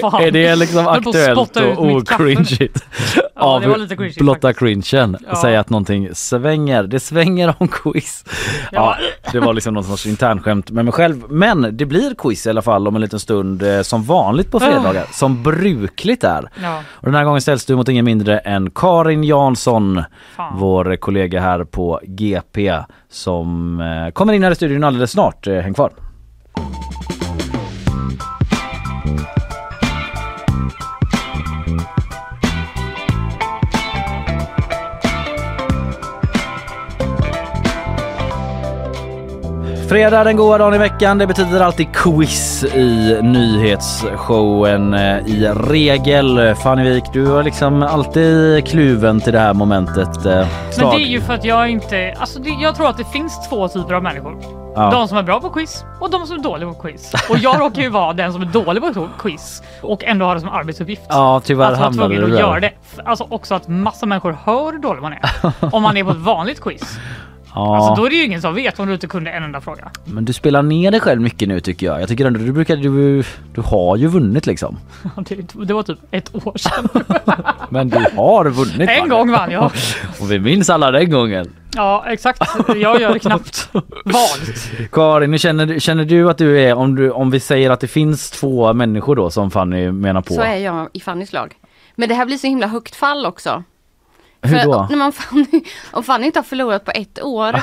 Fan. Är det liksom Jag höll på att aktuellt spotta ut och mitt kaffe. ocringeigt? Ja, Av det var lite cringeigt blotta faktiskt. cringen Ja. och säga att någonting svänger. Det svänger om quiz. Ja, Ja. det var liksom någon sorts internskämt med mig själv. Men det blir quiz i alla fall om en liten stund eh, som vanligt på fredagar. Som brukligt är. Ja. Och den här gången ställs du mot ingen mindre än Karin Jansson, Fan. vår kollega här på GP som eh, kommer in här i studion alldeles snart. Eh, Häng kvar. Fredag den goda dagen i veckan. Det betyder alltid quiz i nyhetsshowen eh, i regel. Fanny Wijk, du har liksom alltid kluven till det här momentet. eh, Men Slag. det är ju för att jag inte... Alltså det, jag tror att det finns två typer av människor. Ja. De som är bra på quiz och de som är dåliga på quiz. Och jag råkar ju vara den som är dålig på quiz och ändå har det som arbetsuppgift. Ja, tyvärr att vara hamnade tvungen du att där. göra det. Alltså också att massa människor hör hur dålig man är. Om man är på ett vanligt quiz. Ja, Alltså då är det ju ingen som vet om du inte kunde en enda fråga. men du spelar ner dig själv mycket nu tycker jag. Jag tycker ändå du brukar, du, du har ju vunnit liksom. Det, det var typ ett år sedan. Men du har vunnit. En Fanny. gång vann jag. Och vi minns alla den gången. Ja exakt. Jag gör det knappt. Vanligt. Karin, nu känner, du- känner du att du är, om, du, om vi säger att det finns två människor då som Fanny menar på. Så är jag i Fannys lag. Men det här blir så himla högt fall också. Hur då? När man Fanny, om Fanny inte har förlorat på ett år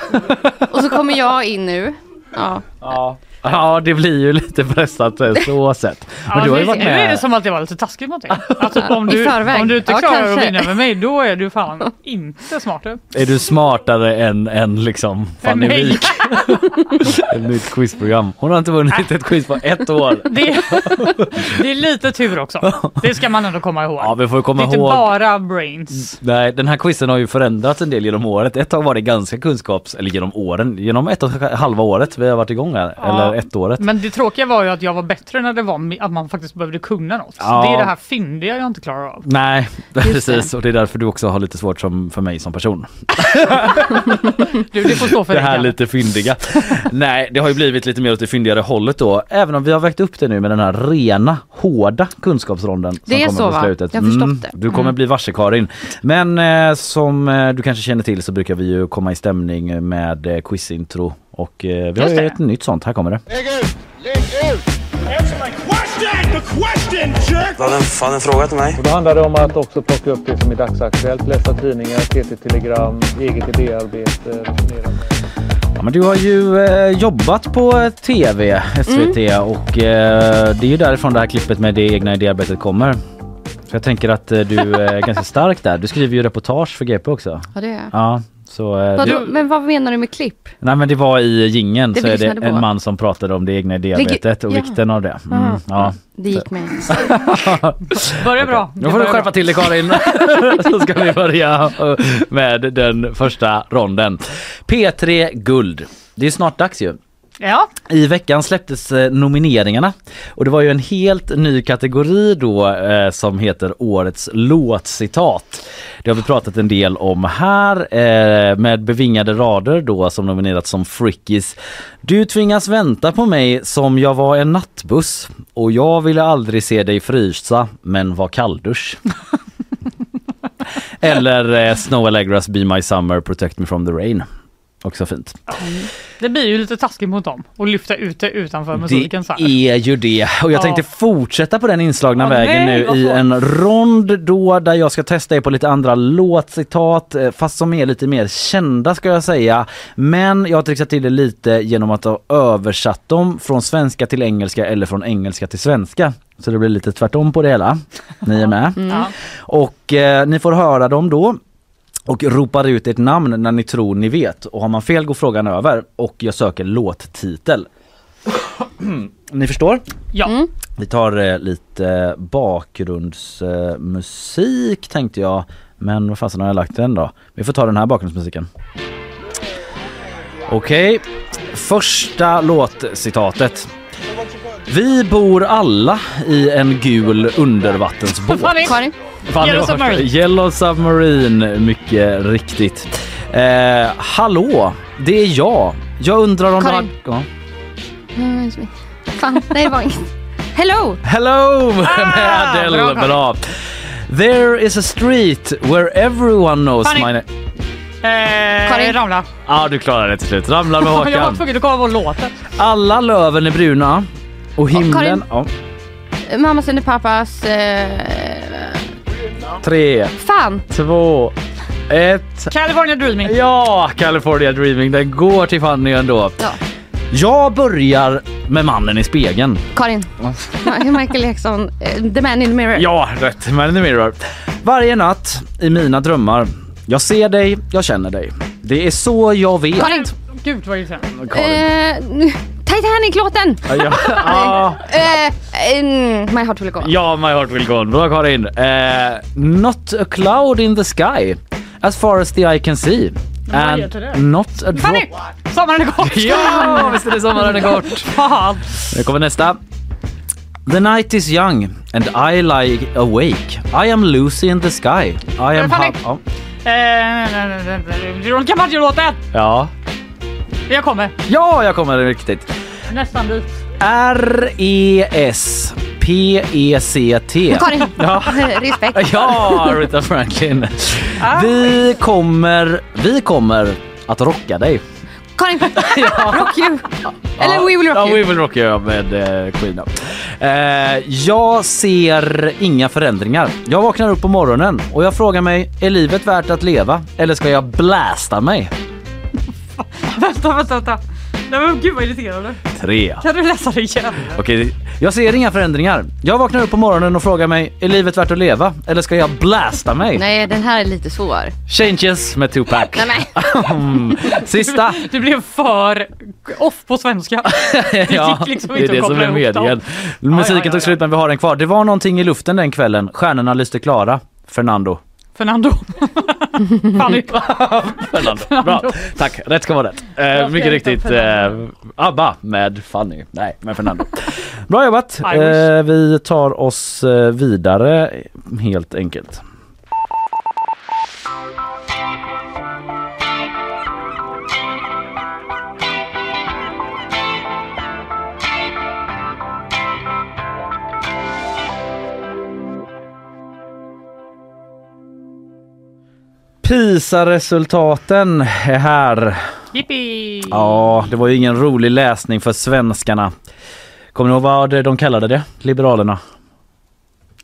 och så kommer jag in nu. Ja. Ja. Ja, det blir ju lite pressat eh, så sett. Men Ja, du har ju nu- varit Nu är det med. som att det var lite taskigt mot dig. Alltså, om, I du, förväg. om du inte Ja, klarar att kanske. vinna med mig då är du fan inte smart. du. Är du smartare än, än liksom Fanny mig. Wijk? ett nytt quizprogram. Hon har inte vunnit ett quiz på ett år. Det, det är lite tur också. Det ska man ändå komma ihåg. Ja, vi får det komma är inte ihåg. bara brains. Nej, den här quizen har ju förändrats en del genom året. Ett tag var det ganska kunskaps... Eller genom åren. Genom ett och halva året vi har varit igång här. Ja. Eller ett året. Men det tråkiga var ju att jag var bättre när det var mi- att man faktiskt behövde kunna något. Ja. Det är det här fyndiga jag inte klarar av. Nej, det. precis. Och det är därför du också har lite svårt som, för mig som person. Du, det får stå för det dig. här Kalle. lite fyndiga. Nej, det har ju blivit lite mer åt det fyndigare hållet då. Även om vi har väckt upp det nu med den här rena, hårda kunskapsronden som Det är kommer så, på va? slutet. Jag har förstått Mm, det. Du kommer Mm. bli varse Karin. Men eh, som eh, du kanske känner till så brukar vi ju komma i stämning med eh, quizintro. Och eh, vi har Just ju det. ett nytt sånt. Här kommer det. Lägg ut! Lägg ut! Answer my question! The question, jerk! Vad hade fan en fråga till mig? Och då handlar det om att också plocka upp det som är dagsaktuellt. Läsa tidningar, TT-telegram, eget idéarbete eh, med mera. Ja, men du har ju eh, jobbat på TV, SVT och eh, det är ju därifrån det här klippet med det egna idéarbetet kommer. Så jag tänker att eh, du är ganska stark där. Du skriver ju reportage för GP också. Ja, det är jag. Ja, så... eh, Vadå, du, men vad menar du med klipp? nej men det var i gingen Det så vi är det lyssnade på. en man som pratade om det egna idéarbetet och ja. vikten av det. Mm, Ah. ja. Det gick mig. Börja bra. Nu får du skärpa till dig Karin. så ska vi börja eh, med den första ronden. P3 Guld. Det är snart dags ju. Ja, I veckan släpptes eh, nomineringarna och det var ju en helt ny kategori då eh, som heter Årets låtcitat. Det har vi pratat en del om här eh, med bevingade rader då som nominerats som Frickis. Du tvingas vänta på mig som jag var en nattbuss och jag ville aldrig se dig frysa men var kalldusch. Eller eh, Snow Allegras Be My Summer Protect Me From The Rain. Också fint. det blir ju lite taskigt mot dem att lyfta ut det utanför musiken så här. Det är ju det. Och jag Ja. tänkte fortsätta på den inslagna Åh, vägen nej, vad nu i svårt. en rond då där jag ska testa er på lite andra låtcitat eh, fast som är lite mer kända ska jag säga. Men jag har trixat till det lite genom att ha översatt dem från svenska till engelska eller från engelska till svenska. Så det blir lite tvärtom på det hela. Ni är med? Ja. Och eh, ni får höra dem då och ropar ut ert namn när ni tror ni vet. Och har man fel går frågan över och jag söker låttitel. ni förstår? Ja. Vi tar eh, lite bakgrundsmusik tänkte jag. Men vad fasen har jag lagt den då? Vi får ta den här bakgrundsmusiken. Okej, första låtcitatet. Vi bor alla i en gul undervattensbåt. Fanny. Karin. Fan, det Yellow var första. Submarine. Yellow Submarine, mycket riktigt. Eh, hallå, det är jag. Jag undrar om Karin. du har... Ja. Mm, Fan, nej det var inget. Hello! Hello med Adele. bra, Bra, Karin. There is a street where everyone knows Fanny. my name. Eh, Karin. Ramla. Ja, du klarade det till slut. Ramlar med Jag var Håkan. tvungen att komma på låten. Alla löven är bruna och himlen... Karin. Ja, Mamma sänder pappas... Eh, tre, fan! två, ett... California Dreaming. Ja, California Dreaming. Den går till Fanny ändå. Ja. Jag börjar med mannen i spegeln. Karin. Michael Jackson, eh, The Man in the Mirror. Ja, rätt. Man in the mirror. Varje natt i mina drömmar. Jag ser dig, jag känner dig. Det är så jag vet. Karin. Gud vad gissar jag? Eh, Titanic-låten! Ja, ja. Ah. Eh, mm, my heart will go on. Ja, my heart will go on. Bra Karin. Eh, not a cloud in the sky as far as the eye can see. Vad And heter det? not a drop. Fanny! Sommaren är kort! Ja, visst är det sommaren är kort. Fan! Nu kommer nästa. The night is young and I lie awake. I am Lucy in the sky. I am... Fanny! ja. Eh, Veronica Maggio-låten! ja. Jag kommer. Ja, jag kommer riktigt. Nästan dit. E R-E-S-P-E-C-T. Men Karin, E Ja. respekt. Ja, Rita Franklin. Ah. Vi kommer, vi kommer att rocka dig. Karin, rock you! Eller Ja, we will rock ja, you. We Will Rock You med eh, Queen. då. Eh, jag ser inga förändringar. Jag vaknar upp på morgonen och jag frågar mig, är livet värt att leva eller ska jag blästa mig? Vänta, vänta, vänta. Nej men gud vad irriterande. Tre. Kan du läsa det igen? Okej, jag ser inga förändringar. Jag vaknar upp på morgonen och frågar mig, är livet värt att leva eller ska jag blästa mig? Nej, den här är lite svår. Changes med Tupac. Nej, men. Mm. Sista. Du blev för off på svenska. Det gick liksom det är inte det att som koppla är ihop medien. dem. Musiken Ja, ja, ja, tog slut men vi har den kvar. Det var någonting i luften den kvällen. Stjärnorna lyste klara. Fernando. Fernando. Fanny. Fernando. Bra. Tack. Rätt ska vara rätt. Eh, mycket riktigt eh, ABBA med Fanny. Nej, med Fernando. Bra jobbat. I wish. Eh, vi tar oss eh, vidare helt enkelt. PISA-resultaten är här. Jippi! Ja, det var ju ingen rolig läsning för svenskarna. Kommer ni ihåg vad de kallade det? Liberalerna.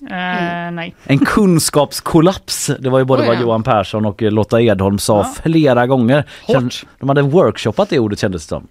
Eh, nej. En kunskapskollaps. Det var ju både Oj, vad ja. Johan Persson och eh, Lotta Edholm sa flera gånger. Hårt. De hade workshoppat det ordet kändes det som.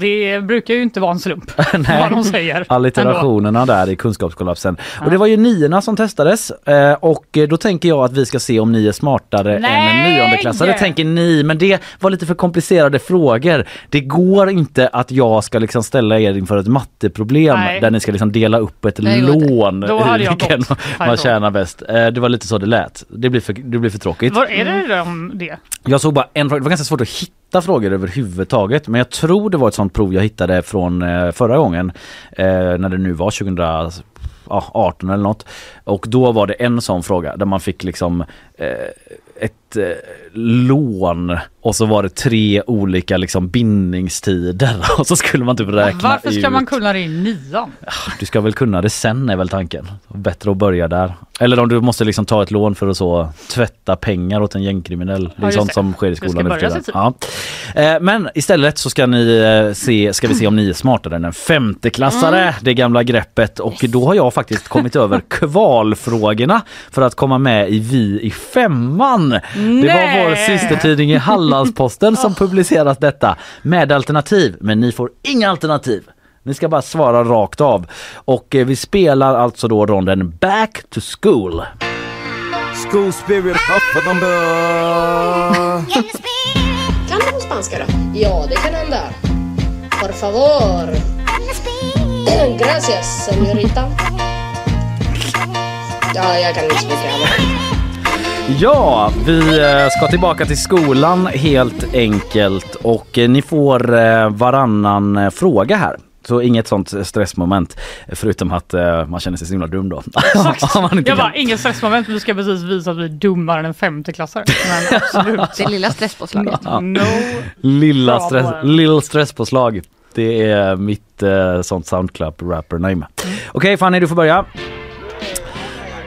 Det brukar ju inte vara en slump vad de säger. Alliterationerna där i kunskapskollapsen. Och det var ju niorna som testades eh, och eh, då tänker jag att vi ska se om ni är smartare än en Nej! niondeklassare tänker ni. Men det var lite för komplicerade frågor. Det går inte att jag ska liksom ställa er inför ett matteproblem Nej. där ni ska liksom dela upp ett Nej, det går inte. lån Då hade i jag vilken gått man härifrån. tjänar bäst. Eh, Det var lite så det lät. Det blir för, det blir för tråkigt. Var är det de det? Jag såg bara en fråga, det var ganska svårt att hitta frågor överhuvudtaget men jag tror det var ett sånt prov jag hittade från eh, förra gången eh, när det nu var 2018 eller något. Och då var det en sån fråga där man fick liksom eh, ett eh, lån och så var det tre olika liksom bindningstider och så skulle man typ räkna Varför ska ut. man kunna det i nian? Du ska väl kunna det sen är väl tanken. Bättre att börja där. Eller om du måste liksom ta ett lån för att så tvätta pengar åt en gängkriminell. Det Ja, är just sånt det. som sker i Det ska skolan nu för börja typ. tiden. så Ja. Eh, Men istället så ska, ni eh, se, ska vi se om ni är smartare än en femteklassare. Mm. Det gamla greppet. Och då har jag faktiskt kommit över kvalfrågorna för att komma med i Vi i femman. Det var vår Nej. Oh. systertidning i Hallandsposten som publicerat detta med alternativ. Men ni får inga alternativ. Ni ska bara svara rakt av. Och eh, vi spelar alltså då ronden Back to School. School spirit up on the... Kan du spanska då? Ja, det kan hända. Por favor. Gracias, señorita. Ja, jag kan inte så mycket heller. Ja, vi eh, ska tillbaka till skolan helt enkelt och eh, ni får eh, varannan eh, fråga här. Så inget sånt stressmoment förutom att eh, man känner sig så himla dum då. Om man inte Jag kan. bara, ingen stressmoment, vi ska precis visa att vi är dummare än en femteklassare. Men absolut. Det lilla stresspåslaget. Ja. No. Lilla, Bra stress, på den. lilla stresspåslag. Det är mitt eh, sånt soundclap rapper name. Mm. Okej Fanny, du får börja.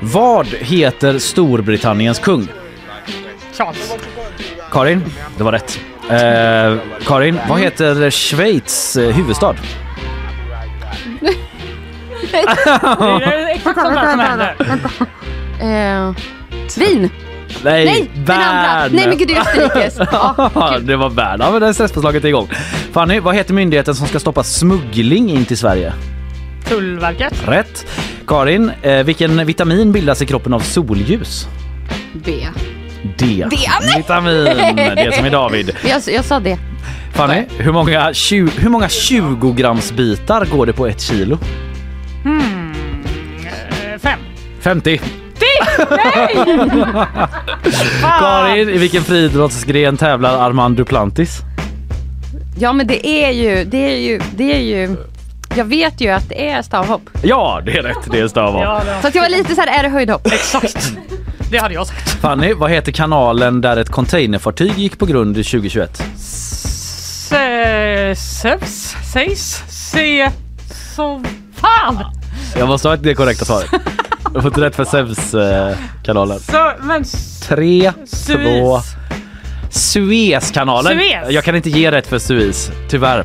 Vad heter Storbritanniens kung? Charles. Karin, det var rätt. Eh, Karin, vad Mm. heter Schweiz eh, huvudstad? Det är exakt sånt där som händer. Eh, Svin! Nej, Nej, den andra! Bern. Nej men gud, det är Österrikes. Ja. det var Bern. Ja, men det stresspåslaget är igång. Fanny, vad heter myndigheten som ska stoppa smuggling in till Sverige? Tullverket. Rätt. Karin, eh, vilken vitamin bildas i kroppen av solljus? B. D. D, nej! Vitamin, det som är David. Men Jag, jag sa det. Fanny, hur många, 20, hur många 20 grams bitar går det på ett kilo? Hmm. eh, Fem. 50. Ditt! Nej! Karin, i vilken friidrottsgren tävlar Armand Duplantis? Ja men det är ju, det är ju, det är ju. Jag vet ju att det är stavhopp. Ja, det är rätt. Det är stavhopp. Så att jag var lite så här, är det höjdhopp? Exakt. Det hade jag sagt. Fanny, vad heter kanalen där ett containerfartyg gick på grund i 2021? Se- Sevs? Sägs? Se... Så... Fan! Jag måste ha det korrekta svaret. Jag får inte rätt för Zeus-kanalen. Så, men... Tre, Suez. två... Suezkanalen. Suez. Jag kan inte ge rätt för Suez, tyvärr.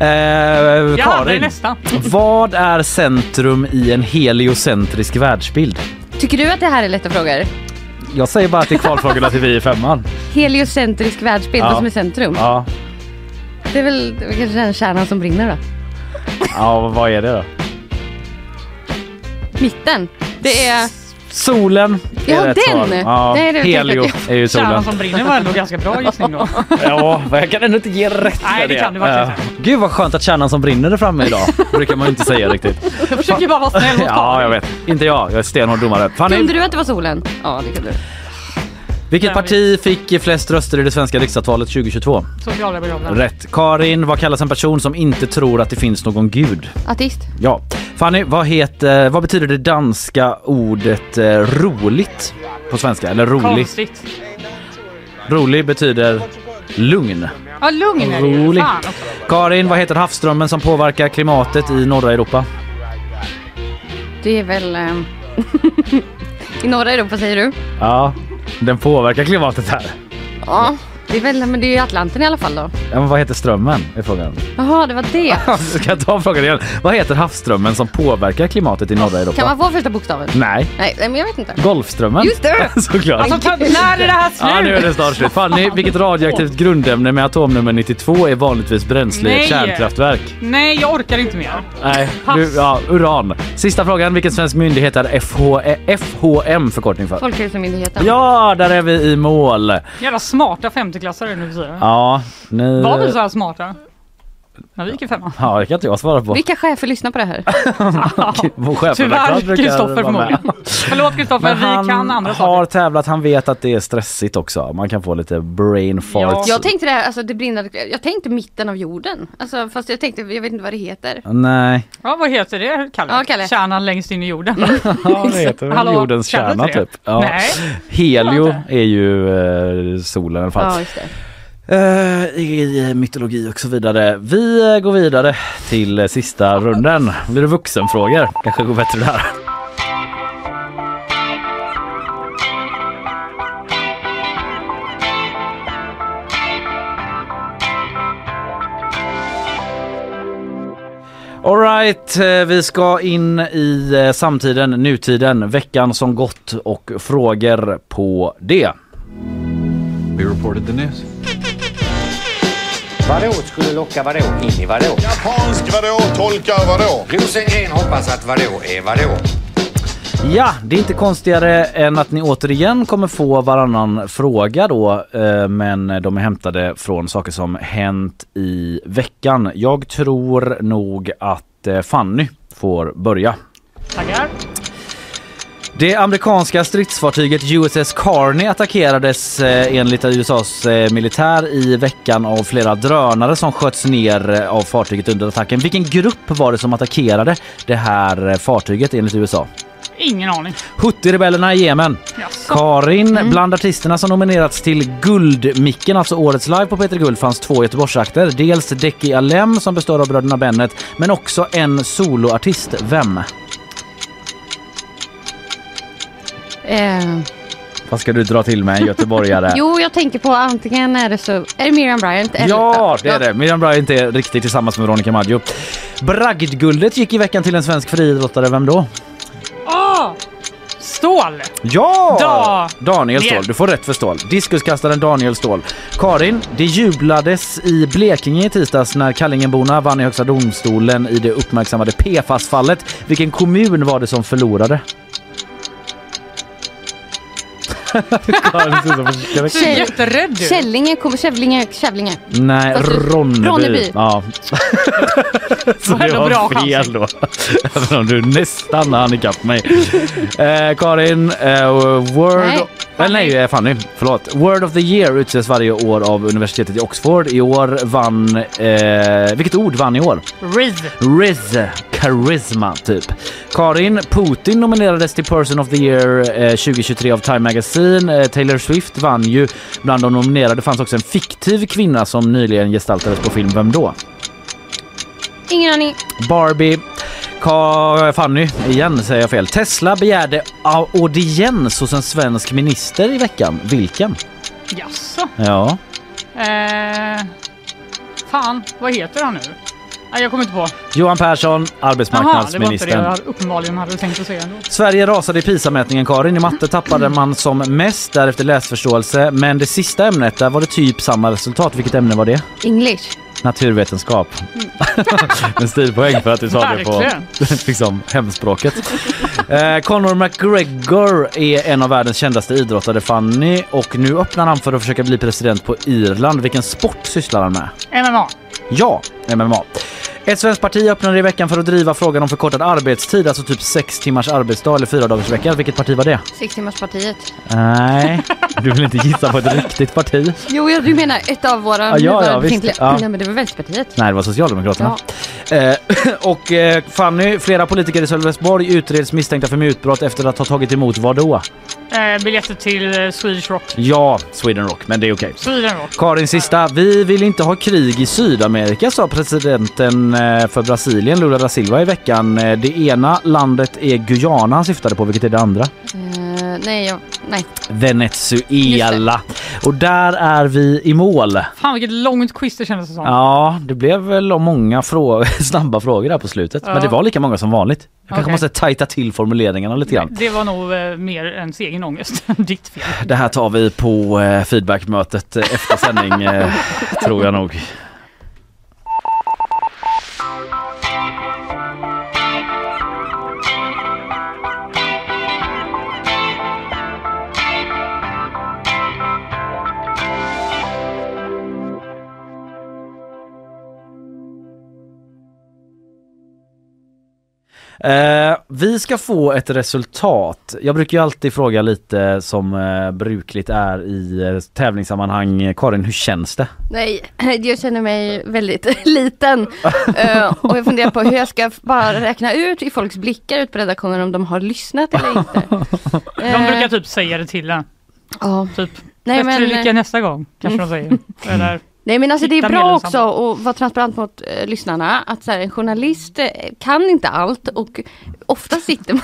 Eh, Jag hade Karin, nästan. vad är centrum i en heliocentrisk världsbild? Tycker du att det här är lätta frågor? Jag säger bara att det är kvalfrågorna till vi i femman. Heliocentrisk världsbild, Ja. vad som är centrum. Ja. Det är väl det är kanske den kärnan som brinner då. ja, vad är det då? Mitten. Det är... Solen är Ja, rätt den! svar. Ja, Nej, det tänkte Helio jag. är ju solen. Kärnan som brinner var ändå ganska bra gissning då. Ja, men jag kan ändå inte ge rätt Nej, för det kan du verkligen Ja. Gud vad skönt att kärnan som brinner är framme idag. brukar man ju inte säga riktigt. Jag försöker bara vara snäll mot Ja, jag vet. Inte jag. Jag är stenhård domare. Kunde Fanny, du att det var solen? Ja, det kunde du. vilket parti fick flest röster i det svenska riksdagsvalet 2022? Socialarbetaren. Rätt. Karin, vad kallas en person som inte tror att det finns någon gud? Ateist. Ja. Fanny, vad, heter, vad betyder det danska ordet eh, roligt på svenska? Eller rolig? Konstigt. Rolig betyder lugn. Ja, lugn är det ju. Rolig. Fan också. Karin, vad heter havsströmmen som påverkar klimatet i norra Europa? Det är väl... ehm, I norra Europa säger du? Ja, den påverkar klimatet här. Ja. Det är väl, men det är ju Atlanten i alla fall då. Ja, men vad heter strömmen? Är frågan. Jaha, det var det. Ska jag ta frågan igen? Vad heter havsströmmen som påverkar klimatet i norra Europa? Kan man få första bokstaven? Nej. Nej, men jag vet inte. Golfströmmen. Just det! Såklart. Alltså, ta- när är det här slut? Ja, nu är det snart slut. Fanny, vilket radioaktivt grundämne med atomnummer 92 är vanligtvis bränsle i ett Nej. kärnkraftverk? Nej, jag orkar inte mer. Nej, nu, ja, uran. Sista frågan. Vilken svensk myndighet är eh, FH, FHM förkortning för? Folkhälsomyndigheten. Ja, där är vi i mål. Jävla smarta femteklassare nu för tiden. Ja, ni... Var vi så här smarta? När vi gick i femman. Ja, det kan inte jag svara på. Vilka chefer lyssnar på det här? Vår chefredaktör Tyvärr brukar Kristoffer vara med. förmodligen. Förlåt Kristoffer, Men han vi kan andra saker. har tävlat, han vet att det är stressigt också. Man kan få lite brain farts. Jag tänkte det här, alltså det brinnande, jag tänkte mitten av jorden. Alltså fast jag tänkte, jag vet inte vad det heter. Nej. Ja, vad heter det Kalle? Ja, Kalle. Kärnan längst in i jorden. Ja, det heter väl Hallå, jordens känner du kärna inte det? typ. Ja. Nej. Helio är ju eh, solen i alla fall. Ja, just det. Eh, I i mytologi och så vidare. Vi eh, går vidare till eh, sista runden. Blir det vuxenfrågor? Kanske går bättre där. Alright, eh, vi ska in i eh, samtiden, nutiden, veckan som gått och frågor på det. We reported the news. Vadå skulle locka vadå in i vadå? Japansk vadå tolkar vadå? Rosengren hoppas att vadå är vadå? Ja, det är inte konstigare än att ni återigen kommer få varannan fråga då, eh, men de är hämtade från saker som hänt i veckan. Jag tror nog att eh, Fanny får börja. Tackar. Det amerikanska stridsfartyget USS Carney attackerades eh, enligt USAs eh, militär i veckan av flera drönare som sköts ner eh, av fartyget under attacken. Vilken grupp var det som attackerade det här eh, fartyget enligt USA? Ingen aning. Hutthi-rebellerna i Yemen. Karin, Mm. bland artisterna som nominerats till Guldmicken, alltså årets live på Peter Guld, fanns två Göteborgsakter. Dels Deki Alem som består av bröderna Bennet, men också en soloartist. Vem? Eh, Vad ska du dra till med en göteborgare? jo, jag tänker på antingen är det så, är det Miriam Bryant eller... Ja, det är det. Miriam Bryant är riktigt tillsammans med Veronica Maggio. Bragdguldet gick i veckan till en svensk friidrottare. Vem då? Åh! Stål! Ja! Da- Daniel Ståhl. Yes. Du får rätt för Ståhl. Diskuskastaren Daniel Ståhl. Karin, det jublades i Blekinge i tisdags när Kallingeborna vann i Högsta domstolen i det uppmärksammade PFAS-fallet. Vilken kommun var det som förlorade? Eh, Jätterädd ut. Källinge, kom- Kävlinge, Kävlinge. Nej, Fast du- Ronneby. Ronneby. Ja. Så Det var du ändå bra har fel då. Även om du nästan hann ikapp mig. Eh, Karin, eh, Word... Nej. Eller nej, eh, Fanny. Förlåt. Word of the year utses varje år av universitetet i Oxford. I år vann... Eh, vilket ord vann i år? Riz. Riz. Charisma, typ. Karin, Putin nominerades till Person of the Year eh, 2023 av Time Magazine. Eh, Taylor Swift vann ju. Bland de nominerade fanns också en fiktiv kvinna som nyligen gestaltades på film. Vem då? Ingen aning. Barbie. Ka- Fanny, igen säger jag fel. Tesla begärde au- audiens hos en svensk minister i veckan. Vilken? Jaså? Ja. Eh, fan, vad heter han nu? Nej, jag kommer inte på. Johan Persson, Jaha, det var inte det arbetsmarknadsministern. jag uppenbarligen hade tänkt att säga ändå. Sverige rasade i PISA-mätningen Karin. I matte tappade man som mest, därefter läsförståelse. Men det sista ämnet, där var det typ samma resultat. Vilket ämne var det? English. Naturvetenskap. en stilpoäng för att du sa det på liksom, hemspråket. Eh, Conor McGregor är en av världens kändaste idrottare Fanny och nu öppnar han för att försöka bli president på Irland. Vilken sport sysslar han med? MMA. Ja, MMA. Ett svenskt parti öppnade i veckan för att driva frågan om förkortad arbetstid, alltså typ sex timmars arbetsdag eller fyra dagars vecka. Vilket parti var det? Sextimmarspartiet. Nej, du vill inte gissa på ett riktigt parti. Jo, ja, du menar ett av våra Ja, ja, nuvarande visst. befintliga. Ja. Nej, men det var Vänsterpartiet. Nej, det var Socialdemokraterna. Eh, och eh, Fanny, flera politiker i Sölvesborg utreds misstänkta för mutbrott efter att ha tagit emot vad då? Eh, biljetter till eh, Swedish Rock. Ja, Sweden Rock, men det är okej. Sweden Rock. Karin sista. Vi vill inte ha krig i Sydamerika sa presidenten eh, för Brasilien, Lula da Silva, i veckan. Eh, Det ena landet är Guyana han syftade på, vilket är det andra? Eh, nej, jag, nej. Venezuela. Och där är vi i mål. Fan vilket långt quiz det kändes som. Ja, det blev väl många frå snabba frågor där på slutet. Ja. Men det var lika många som vanligt. Jag kanske Okej. måste tajta till formuleringarna lite grann. Det var nog eh, mer ens egen ångest än ditt fel. Det här tar vi på eh, feedbackmötet eh, efter sändning, eh, tror jag nog. Eh, vi ska få ett resultat. Jag brukar ju alltid fråga lite som eh, brukligt är i eh, tävlingssammanhang. Karin, hur känns det? Nej, jag känner mig väldigt liten. Eh, och jag funderar på hur jag ska bara räkna ut i folks blickar ut på redaktionen om de har lyssnat eller inte. Eh, De brukar typ säga det till en. Ja. Typ. Nej, Nej, Bättre men- lycka nästa gång, kanske de säger. Mm. Eller, Nej men alltså det är Hitta bra medlemsam- också att vara transparent mot eh, lyssnarna att så här, en journalist eh, kan inte allt och ofta sitter man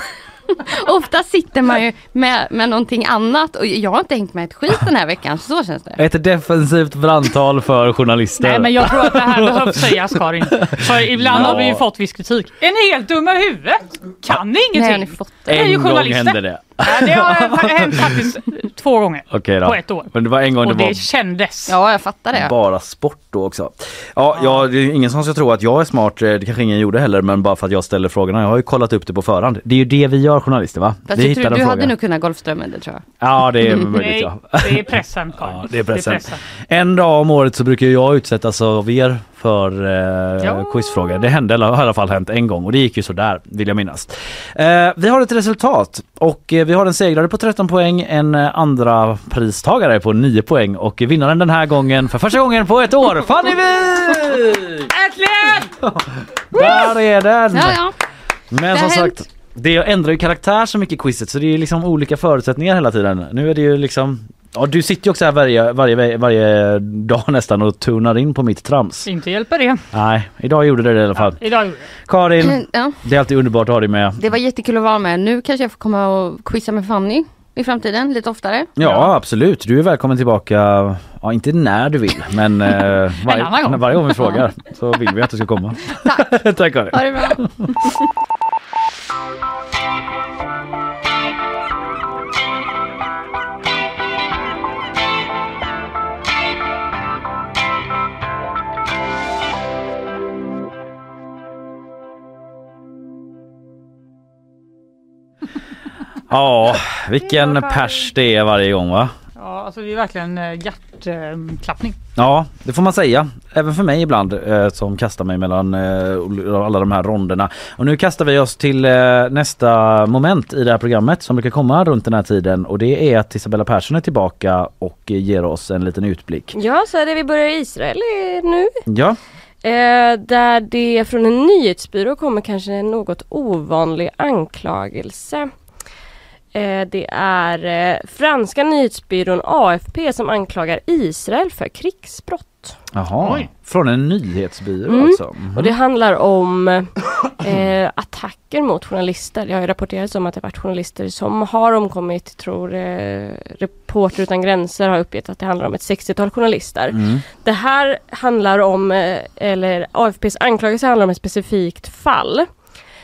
Ofta sitter man ju med, med någonting annat och jag har inte hängt med ett skit den här veckan, så känns det. Ett defensivt brandtal för journalister. Nej men jag tror att det här behövs sägas Karin. För ibland Ja. har vi ju fått viss kritik. Är ni helt dumma i huvudet? Kan ni ingenting? Nej, har ni fått det? är ju En gång journalister. hände det. Ja, det har hänt faktiskt två gånger Okej då. på ett år. Men det var en gång Och det var det kändes. Ja, jag fattar bara sport då också. Ja, jag, det är ingen som ska tro att jag är smart. eh, Det kanske ingen gjorde heller, men bara för att jag ställer frågorna. Jag har ju kollat upp det på förhand. Det är ju det vi gör journalister va? Fast vi jag tror, en du fråga. hade nog kunnat golfströmmen det tror jag. Ja, det är möjligt Nej, ja. det är pressen Karin. Ja, det är pressen. En dag om året så brukar jag utsättas av er för eh, Ja. quizfrågor. Det hände, eller har i alla fall hänt en gång och det gick ju sådär vill jag minnas. Eh, vi har ett resultat och eh, vi har en segrare på 13 poäng, en eh, andra pristagare på 9 poäng och vinnaren den här gången för första gången på ett år, Fanny Wijk! Äntligen! Där är den! Ja, ja. Det Men har som hänt. sagt, det ändrar ju karaktär så mycket i quizet så det är liksom olika förutsättningar hela tiden. Nu är det ju liksom Ja du sitter ju också här varje, varje, varje dag nästan och tunar in på mitt trams. Inte hjälper det. Nej, idag gjorde det det i alla fall. Idag gjorde Karin, Ja. det är alltid underbart att ha dig med. Det var jättekul att vara med. Nu kanske jag får komma och quizza med Fanny i framtiden lite oftare. Ja absolut, du är välkommen tillbaka, ja inte när du vill men eh, annan varje, gång. varje gång vi frågar så vill vi att du ska komma. Tack! Tack Karin! Ha det bra. Ja, vilken pers det är varje gång va? Ja, alltså det är verkligen eh, hjärtklappning. Ja, det får man säga. Även för mig ibland eh, som kastar mig mellan eh, alla de här ronderna. Och nu kastar vi oss till eh, nästa moment i det här programmet som brukar komma runt den här tiden och det är att Isabella Persson är tillbaka och eh, ger oss en liten utblick. Ja, så är det vi börjar i Israel eh, nu. Ja, Eh, där det från en nyhetsbyrå kommer kanske en något ovanlig anklagelse. Eh, det är eh, franska nyhetsbyrån AFP som anklagar Israel för krigsbrott. jaha. Oj. Från en nyhetsbyrå Mm. alltså. Mhm. Och det handlar om eh, attacker mot journalister. Det har ju rapporterats om att det har varit journalister som har omkommit, tror eh, Reporter utan gränser har uppgett att det handlar om ett 60-tal journalister. Mm. Det här handlar om, eh, eller AFPs anklagelse handlar om ett specifikt fall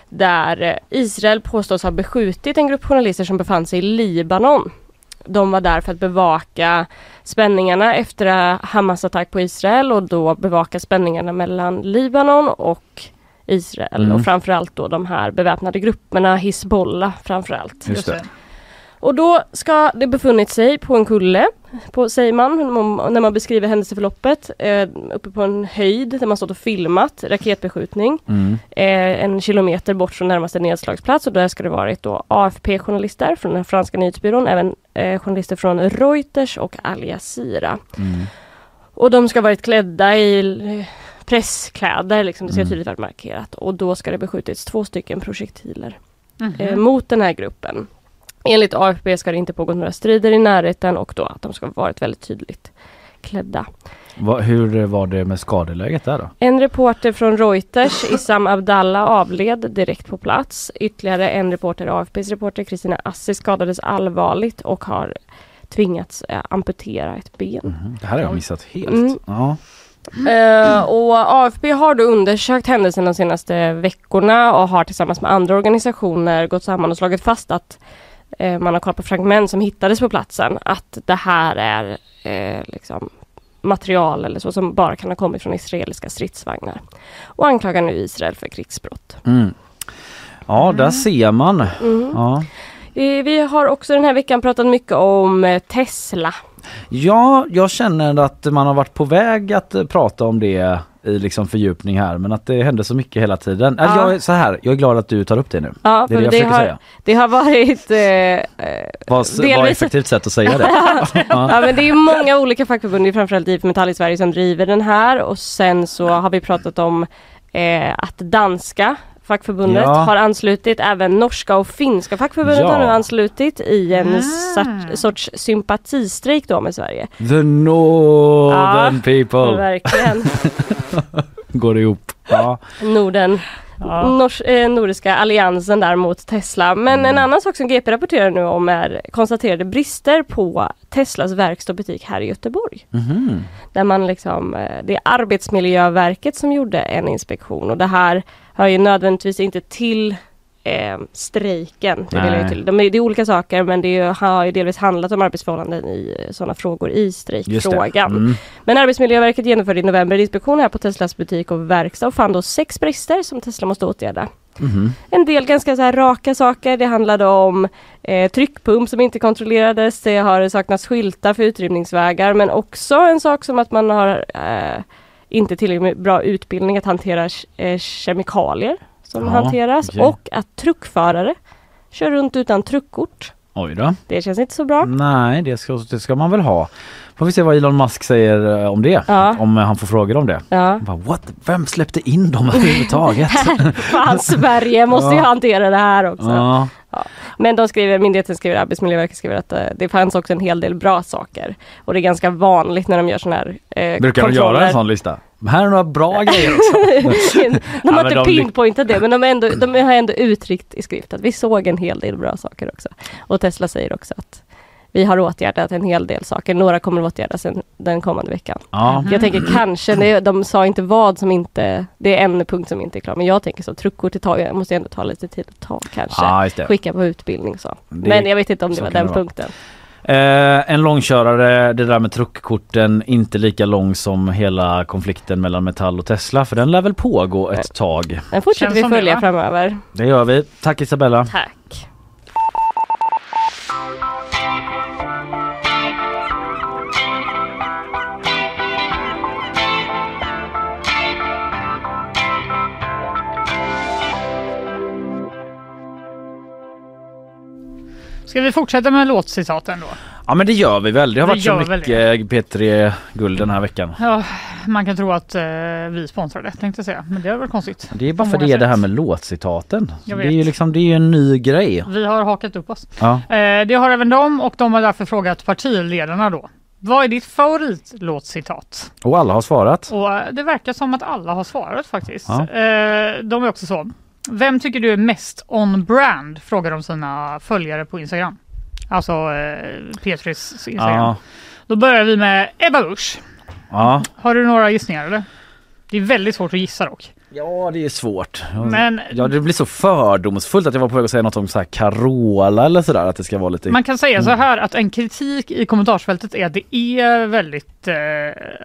där eh, Israel påstås ha beskjutit en grupp journalister som befann sig i Libanon. De var där för att bevaka spänningarna efter eh, Hamas attack på Israel och då bevaka spänningarna mellan Libanon och Israel Mm. och framförallt då de här beväpnade grupperna, Hizbollah framförallt. Just det. Och då ska det befunnit sig på en kulle, på, säger man om- när man beskriver händelseförloppet, eh, uppe på en höjd där man stått och filmat raketbeskjutning Mm. eh, en kilometer bort från närmaste nedslagsplats och där ska det varit då AFP-journalister från den franska nyhetsbyrån, även eh, journalister från Reuters och Al Jazeera. Mm. Och de ska ha varit klädda i l- presskläder, liksom, det ska Mm. tydligt varit markerat. Och då ska det beskjutits två stycken projektiler Mhm. eh, mot den här gruppen. Enligt AFP ska det inte pågått några strider i närheten och då att de ska ha varit väldigt tydligt klädda. Va, hur var det med skadeläget där då? En reporter från Reuters, Issam Abdallah, avled direkt på plats. Ytterligare en reporter, AFPs reporter, Kristina Assi, skadades allvarligt och har tvingats eh, amputera ett ben. Det här har jag missat helt. Mm. Ja. Eh, och AFP har då undersökt händelsen de senaste veckorna och har tillsammans med andra organisationer gått samman och slagit fast att eh, man har kollat på fragment som hittades på platsen, att det här är eh, liksom material eller så som bara kan ha kommit från israeliska stridsvagnar. Och anklagar nu Israel för krigsbrott. Mm. Ja, där ser man. Mm. Ja. Eh, vi har också den här veckan pratat mycket om eh, Tesla. ja, jag känner att man har varit på väg att eh, prata om det i liksom fördjupning här men att det händer så mycket hela tiden. Eller Ja. Jag, är så här, jag är glad att du tar upp det nu. Ja, det är för det jag försöker har, säga. det har varit eh, eh, Vad, vad är delvis- effektivt sätt att säga det? ja, men det är ju många olika fackförbund, det är framförallt IF Metall i Sverige som driver den här och sen så har vi pratat om eh, att danska fackförbundet Ja. har anslutit, även norska och finska fackförbundet Ja. har nu anslutit i en sart, sorts sympatistrejk då med Sverige. The northern Ja, people Verkligen. går ihop. Ja. Norden. Ja. Nors, eh, nordiska alliansen där mot Tesla. Men en annan sak som GP rapporterar nu om är konstaterade brister på Teslas verkstad och butik här i Göteborg. Mhm. Där man liksom, eh, det är Arbetsmiljöverket som gjorde en inspektion och det här hör ju nödvändigtvis inte till eh, strejken. Det, vill jag ju Nej. till. De är, det är olika saker men det är, ju- har ju delvis handlat om arbetsförhållanden i sådana frågor i strejkfrågan. Mm. Men Arbetsmiljöverket genomförde i november en inspektion här på Teslas butik och verkstad och fann då sex brister som Tesla måste åtgärda. En del ganska så här raka saker. Det handlade om eh, tryckpump som inte kontrollerades. Det har saknats skyltar för utrymningsvägar men också en sak som att man har eh, inte tillräckligt bra utbildning att hantera ke- eh, kemikalier som Ja, hanteras okej. och att truckförare kör runt utan truckkort. Oj då. Det känns inte så bra. Nej, det ska, det ska man väl ha. Får vi se vad Elon Musk säger eh, om det. Ja. Om eh, han får frågor om det. Ja. Alltså, Han Bara, What? Vem släppte in dem överhuvudtaget? Fan, Sverige måste ju Ja. hantera det här också. ja. Men de skriver, myndigheten skriver, Arbetsmiljöverket skriver att eh, det fanns också en hel del bra saker. Och det är ganska vanligt när de gör sådana här eh, Brukar de göra kontroller. en sån lista? Men Här är några bra grejer också. de men har inte de ly- pinpointat det men de, är ändå, de har ändå uttryckt i skrift att vi såg en hel del bra saker också. Och Tesla säger också att vi har åtgärdat en hel del saker, några kommer att åtgärdas en, den kommande veckan. Ja. Jag Mm. tänker kanske, det, är- de sa inte vad som inte, det är en punkt som inte är klar, men jag tänker så, truckkortet tar ju- måste ju ändå ta lite tid att ta kanske. Ja, just det. Skicka på utbildning så. Det- men jag vet inte om det så var kan den det vara. punkten. Eh, en långkörare, det där med truckkorten, inte lika lång som hela konflikten mellan Metall och Tesla för den lär väl pågå ett tag. Eh. Den fortsätter Känns vi som det, följa va? framöver. Det gör vi. Tack Isabella. Tack. Ska vi fortsätta med låtcitaten då? Ja men det gör vi väl. Det har Det varit så gör väl mycket P3 Guld den här veckan. Ja, man kan tro att eh, vi sponsrar det tänkte jag säga, men det är väl konstigt. Det är bara På för många det är sätt. det här med låtcitaten. Det Jag är vet. ju liksom, det är ju en ny grej. Vi har hakat upp oss. Ja. Eh, det har även de och de har därför frågat partiledarna då. Vad är ditt favoritlåtcitat? Och alla har svarat. Och eh, det verkar som att alla har svarat faktiskt. Ja. Eh, de är också så. Vem tycker du är mest on-brand? Frågar de sina följare på Instagram. Alltså eh, Petrus Instagram. Ja. Då börjar vi med Ebba Busch. Ja. Har du några gissningar eller? Det är väldigt svårt att gissa dock. ja, det är svårt. Men- Ja, det blir så fördomsfullt att jag var på väg att säga något om så här Carola eller sådär. Att det ska vara lite... Man kan säga så Mm. här att en kritik i kommentarsfältet är att det är väldigt... Eh,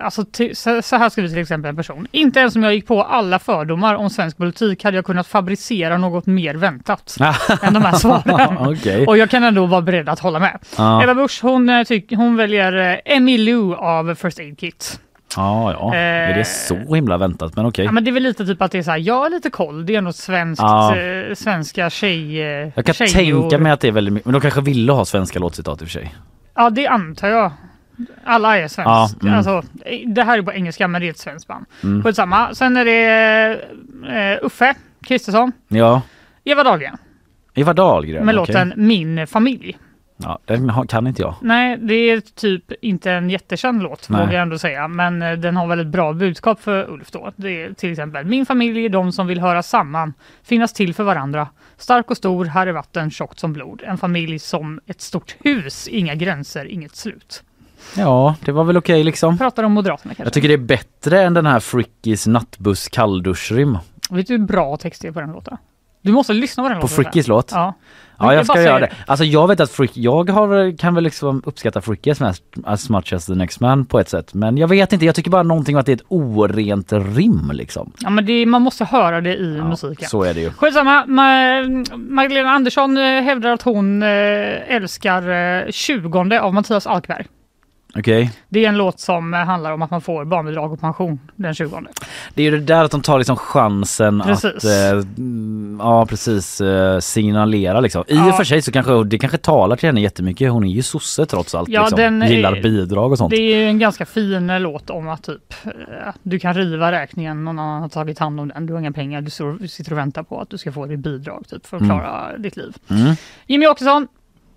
alltså ty- så så här skriver till exempel en person. Inte ens om jag gick på alla fördomar om svensk politik hade jag kunnat fabricera något mer väntat än de här svaren. Okej. Och jag kan ändå vara beredd att hålla med. Ja. Eva Busch hon, eh, tyck- hon väljer eh, Emmy Lou av First Aid Kit. Ja, ja. Eh. Är det så himla väntat? Men okej. Ja, men det är väl lite typ att det är så här, jag är lite koll, det är något svenskt, Ja. eh, svenska tjej... eh, Jag kan tjejor. tänka mig att det är väldigt mycket. Men de kanske ville ha svenska låtcitat i och för sig. Ja, det antar jag. Alla är svenska. Ja, mm. alltså, det här är på engelska, men det är ett svenskt band. Mm. Skitsamma. Sen är det eh, Uffe Kristersson, Ja. Eva Dahlgren Eva Dahlgren. med okej. låten Min familj. Ja, den har- kan inte jag. Nej, det är typ inte en jättekänd låt, Nej. vågar jag ändå säga. Men eh, den har väl ett bra budskap för Ulf då. Det är till exempel Min familj är de som vill höra samman, finnas till för varandra. Stark och stor, här är vatten, tjockt som blod. En familj som ett stort hus, inga gränser, inget slut. Ja, det var väl okej liksom. Pratar om Moderaterna kanske. Jag tycker det är bättre än den här Frickis nattbuss kallduschrim. Vet du hur bra text det är på den låten? Du måste lyssna på den På låten. Frickis låt? Ja. Ja, Men jag ska bara göra säger- det. Alltså jag vet att Frick, jag har, kan väl liksom uppskatta Fricky as, much- as much as the next man på ett sätt. Men jag vet inte, jag tycker bara någonting om att det är ett orent rim liksom. Ja, men det, är- man måste höra det i musiken. Så är det ju. Skitsamma, Ma- Magdalena Andersson eh, hävdar att hon eh, älskar eh, 20 av Mattias Alkberg. Okej. Det är en låt som eh, handlar om att man får barnbidrag och pension den 20. Det är ju det där att de tar liksom chansen Precis. att eh, mm, ja, precis, eh, signalera liksom. I Ja. och för sig så kanske det kanske talar till henne jättemycket. Hon är ju sosse trots allt. Ja, liksom. den är- Gillar bidrag och sånt. Det är ju en ganska fin eh, låt om att typ eh, du kan riva räkningen, någon annan har tagit hand om den, du har inga pengar, du står- du sitter och väntar på att du ska få ditt bidrag typ, för att Mm. klara ditt liv. Mm. Jimmy Åkesson,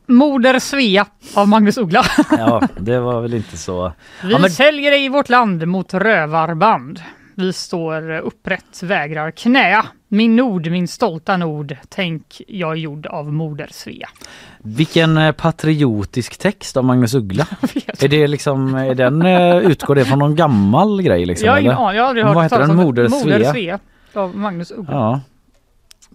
Moder Svea av Magnus Uggla. Ja, det var väl inte så... Vi Ja, men säljer dig i vårt land mot rövarband. Vi står upprätt, vägrar knäa. Min nord, min stolta nord, tänk jag är gjord av Moder Svea. Vilken eh, patriotisk text av Magnus Uggla. är det liksom, är den, eh, utgår det från någon gammal grej liksom? jag har ingen eller? aning, jag har aldrig Vad hört heter den? om det. Moder Svea? av Magnus Uggla. Ja,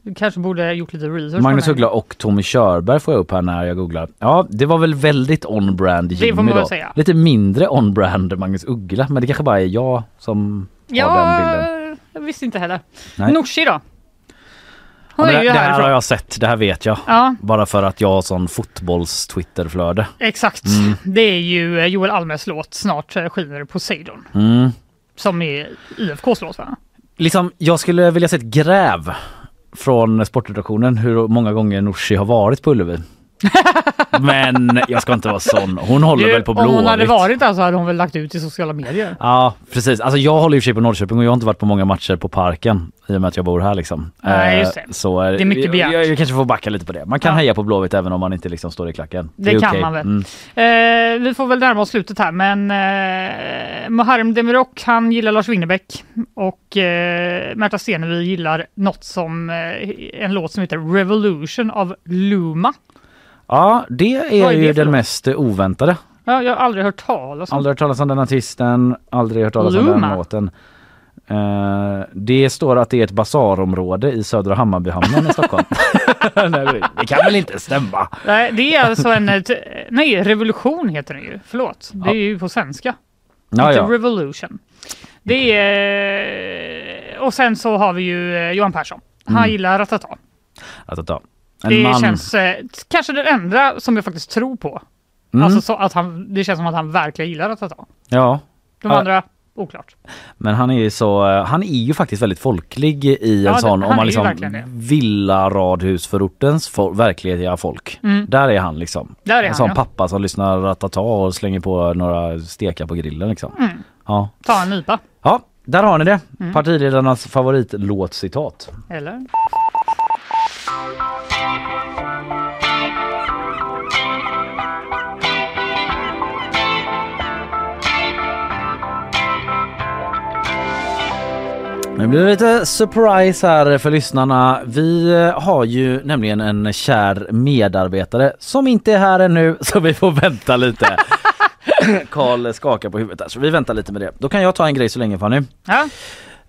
Du kanske borde ha gjort lite research. på Magnus den. Uggla och Tommy Körberg får jag upp här när jag googlar. Ja, det var väl väldigt on-brand Det får Jimmy man väl då. säga. Lite mindre on-brand Magnus Uggla, men det kanske bara är jag som har den bilden. Ja, jag visste inte heller. Nej. Nooshi då? Ja, Hon men är det, ju det här har härifrån. jag sett, det här vet jag. Ja. Bara för att jag har sån fotbolls-twitterflöde. Exakt. Mm. Det är ju eh, Joel Almes låt Snart eh, skiner det Poseidon. Mm. Som är IFKs låt va? Liksom, jag skulle vilja se ett gräv från sportredaktionen hur många gånger Nooshi har varit på Ullevi. Men jag ska inte vara sån. Hon håller Du, väl på Om hon hade Blåvitt. varit där så hade hon väl lagt ut i sociala medier. Ja precis. Alltså jag håller ju i och för sig på Norrköping och jag har inte varit på många matcher på Parken i och med att jag bor här liksom. Nej, Eh, just det. Så Det är mycket jag- begärt. Jag, jag kanske får backa lite på det. Man kan Ja. heja på Blåvitt även om man inte liksom står i klacken. Det är kan okej. man väl. Mm. Eh, vi får väl närma oss slutet här men eh, Muharrem Demirok han gillar Lars Winnerbäck och eh, Märta Stenevi gillar något som eh, en låt som heter Revolution av Luma. Ja det är Vad är det ju för den låt? mest eh, oväntade. Ja, jag har aldrig hört talas om Aldrig hört talas om den artisten, aldrig hört talas om Luma. den låten. Eh, det står att det är ett basarområde i Södra Hammarbyhamnen i Stockholm. Nej, det kan väl inte stämma? Nej, det är alltså en... eh, t- Nej, revolution heter den ju. Förlåt. Det är Ja. ju på svenska. Ja, Inte ja. revolution. Det är... eh, Och sen så har vi ju eh, Johan Persson. Han Mm. gillar Ratata. Att, att, att. En Det man. känns eh, t- kanske den enda som jag faktiskt tror på. Mm. Alltså så att han, det känns som att han verkligen gillar Ratata. Ja. De Ja. andra, Oklart. Men han är, så, eh, han är ju faktiskt väldigt folklig i en Ja, det- sån, han om är man ju liksom verkligen det. villaradhusförortens fo- verkliga folk. Mm. Där är han liksom. Där är en han, sån ja. pappa som lyssnar ratata och slänger på några stekar på grillen liksom. Mm. Ja. Ta en nypa. ja, där har ni det. Mm. Partiledarnas favoritlåtcitat. Eller? Nu blir det lite surprise här för lyssnarna. Vi eh, har ju nämligen en kär medarbetare som inte är här ännu så vi får vänta lite. Karl skakar på huvudet där så vi väntar lite med det. Då kan jag ta en grej så länge Fanny. Ja.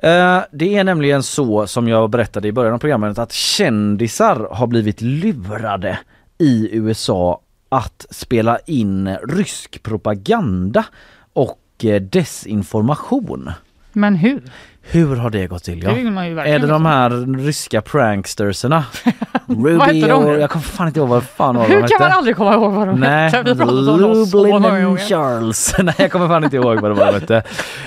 Eh, Det är nämligen så som jag berättade i början av programmet att kändisar har blivit lurade i USA att spela in rysk propaganda och eh, desinformation. Men hur? Hur har det gått till? Ja? Det vill man ju verkligen är det de här ryska pranksterserna? Ruby Vad heter de nu? och... Jag kommer fan inte ihåg vad fan var de Hur hette. kan man aldrig komma ihåg vad de Nej, hette? Vi pratade om dem så Lublin många and gånger. Charles. Nej, jag kommer fan inte ihåg vad det var de hette.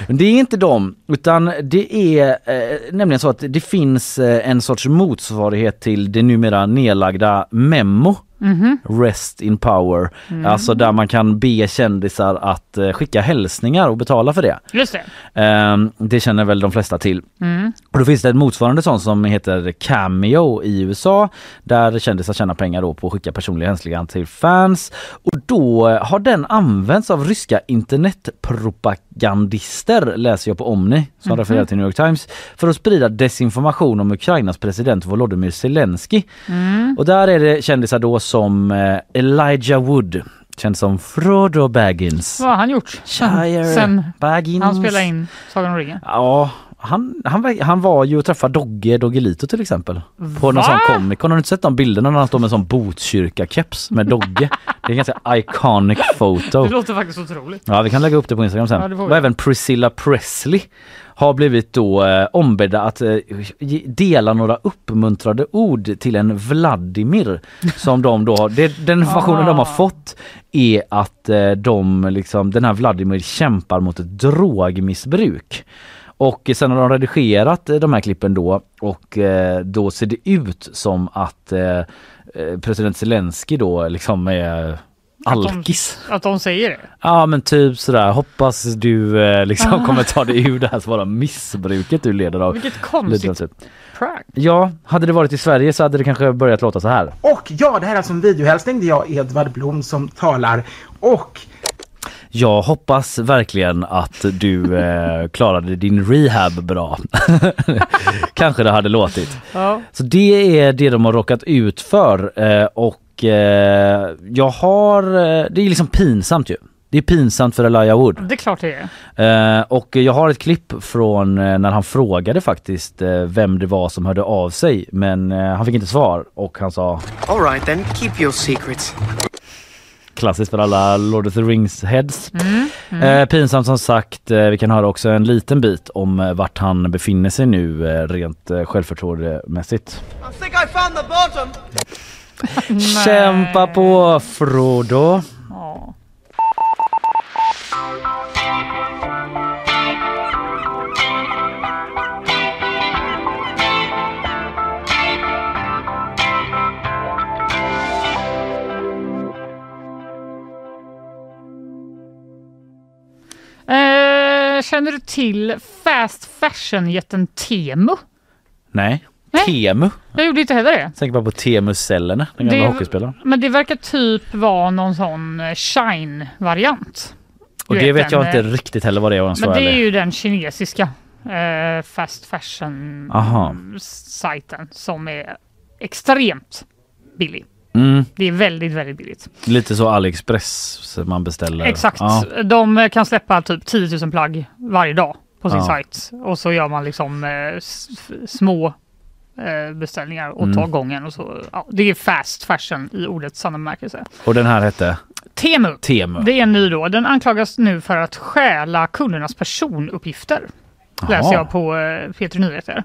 Men Det är inte dem, utan det är eh, nämligen så att det finns eh, en sorts motsvarighet till det numera nedlagda Memo. Mhm. Rest in power. Mm. Alltså där man kan be kändisar att eh, skicka hälsningar och betala för det. Just det. Ehm, det känner väl de flesta till. Mm. Och då finns det ett motsvarande sånt som heter Cameo i USA där kändisar tjänar pengar då på att skicka personliga hälsningar till fans. Och då eh, har den använts av ryska internetpropagandister, läser jag på Omni som Mhm. refererar till New York Times, för att sprida desinformation om Ukrainas president Volodymyr Zelensky. Mm. Och där är det kändisar då som eh, Elijah Wood, känd som Frodo Baggins. Vad har han gjort sen, Shire sen Baggins. han spelade in Sagan om ringen? Ja, han, han, var- han var ju och träffade Dogge Doggelito till exempel. På någon Va? sån Comic Con. Har du inte sett de bilderna när han står med en sån Botkyrka-keps med Dogge? Det är ganska iconic photo. Det låter faktiskt otroligt. Ja, vi kan lägga upp det på Instagram Ja, sen. det får vi. och även Priscilla Presley har blivit då eh, ombedda att eh, ge- dela några uppmuntrande ord till en Vladimir som de då har, det, den informationen Ah. de har fått är att eh, de liksom, den här Vladimir kämpar mot ett drogmissbruk. Och sen har de redigerat eh, de här klippen då och eh, då ser det ut som att eh, eh, president Zelensky då liksom är alkis. Att de säger det. Ja men typ sådär, hoppas du eh, liksom Ah. kommer ta dig ur det här svåra missbruket du leder av. Vilket konstigt Lider av, typ. prank. Ja, hade det varit i Sverige så hade det kanske börjat låta så här. Och ja, det här är alltså en videohälsning. Det är jag, Edvard Blom, som talar. Och Jag hoppas verkligen att du eh, klarade din rehab bra. kanske det hade låtit. Ja. Så det är det de har råkat ut för eh, och eh, jag har, eh, det är liksom pinsamt ju. Det är pinsamt för Elijah Wood. Det är klart det är. Eh, och jag har ett klipp från eh, när han frågade faktiskt eh, vem det var som hörde av sig men eh, han fick inte svar och han sa all right then, keep your secrets. klassiskt för alla Lord of the Rings heads. Mm, Eh, pinsamt som sagt, eh, vi kan höra också en liten bit om eh, vart han befinner sig nu eh, rent eh, självförtroendemässigt. I think I found the bottom. Kämpa på Frodo! Eh, känner du till fast fashion-jätten Temu? Nej, Nej. Temu. Jag gjorde inte heller det. Tänker bara på Temu-cellerna, den gamla Det- hockeyspelaren. Men det verkar typ vara någon sån eh, shine-variant. Och Du det vet den, jag inte eh, riktigt heller vad det är om jag ska Men vara det är ärlig. ju den kinesiska eh, fast fashion Aha. Mm. sajten som är extremt billig. Mm. Det är väldigt, väldigt billigt. Lite så AliExpress så man beställer. Exakt. Ja. De eh, kan släppa typ 10 000 plagg varje dag på sin Ja. sajt. Och så gör man liksom eh, s- f- små eh, beställningar och Mm. tar gången. Och så, ja, det är fast fashion i ordets sanna bemärkelse. Och den här hette? Temu. Temu. Det är en ny då. Den anklagas nu för att stjäla kundernas personuppgifter. Jaha. Läser jag på eh, P3 Nyheter.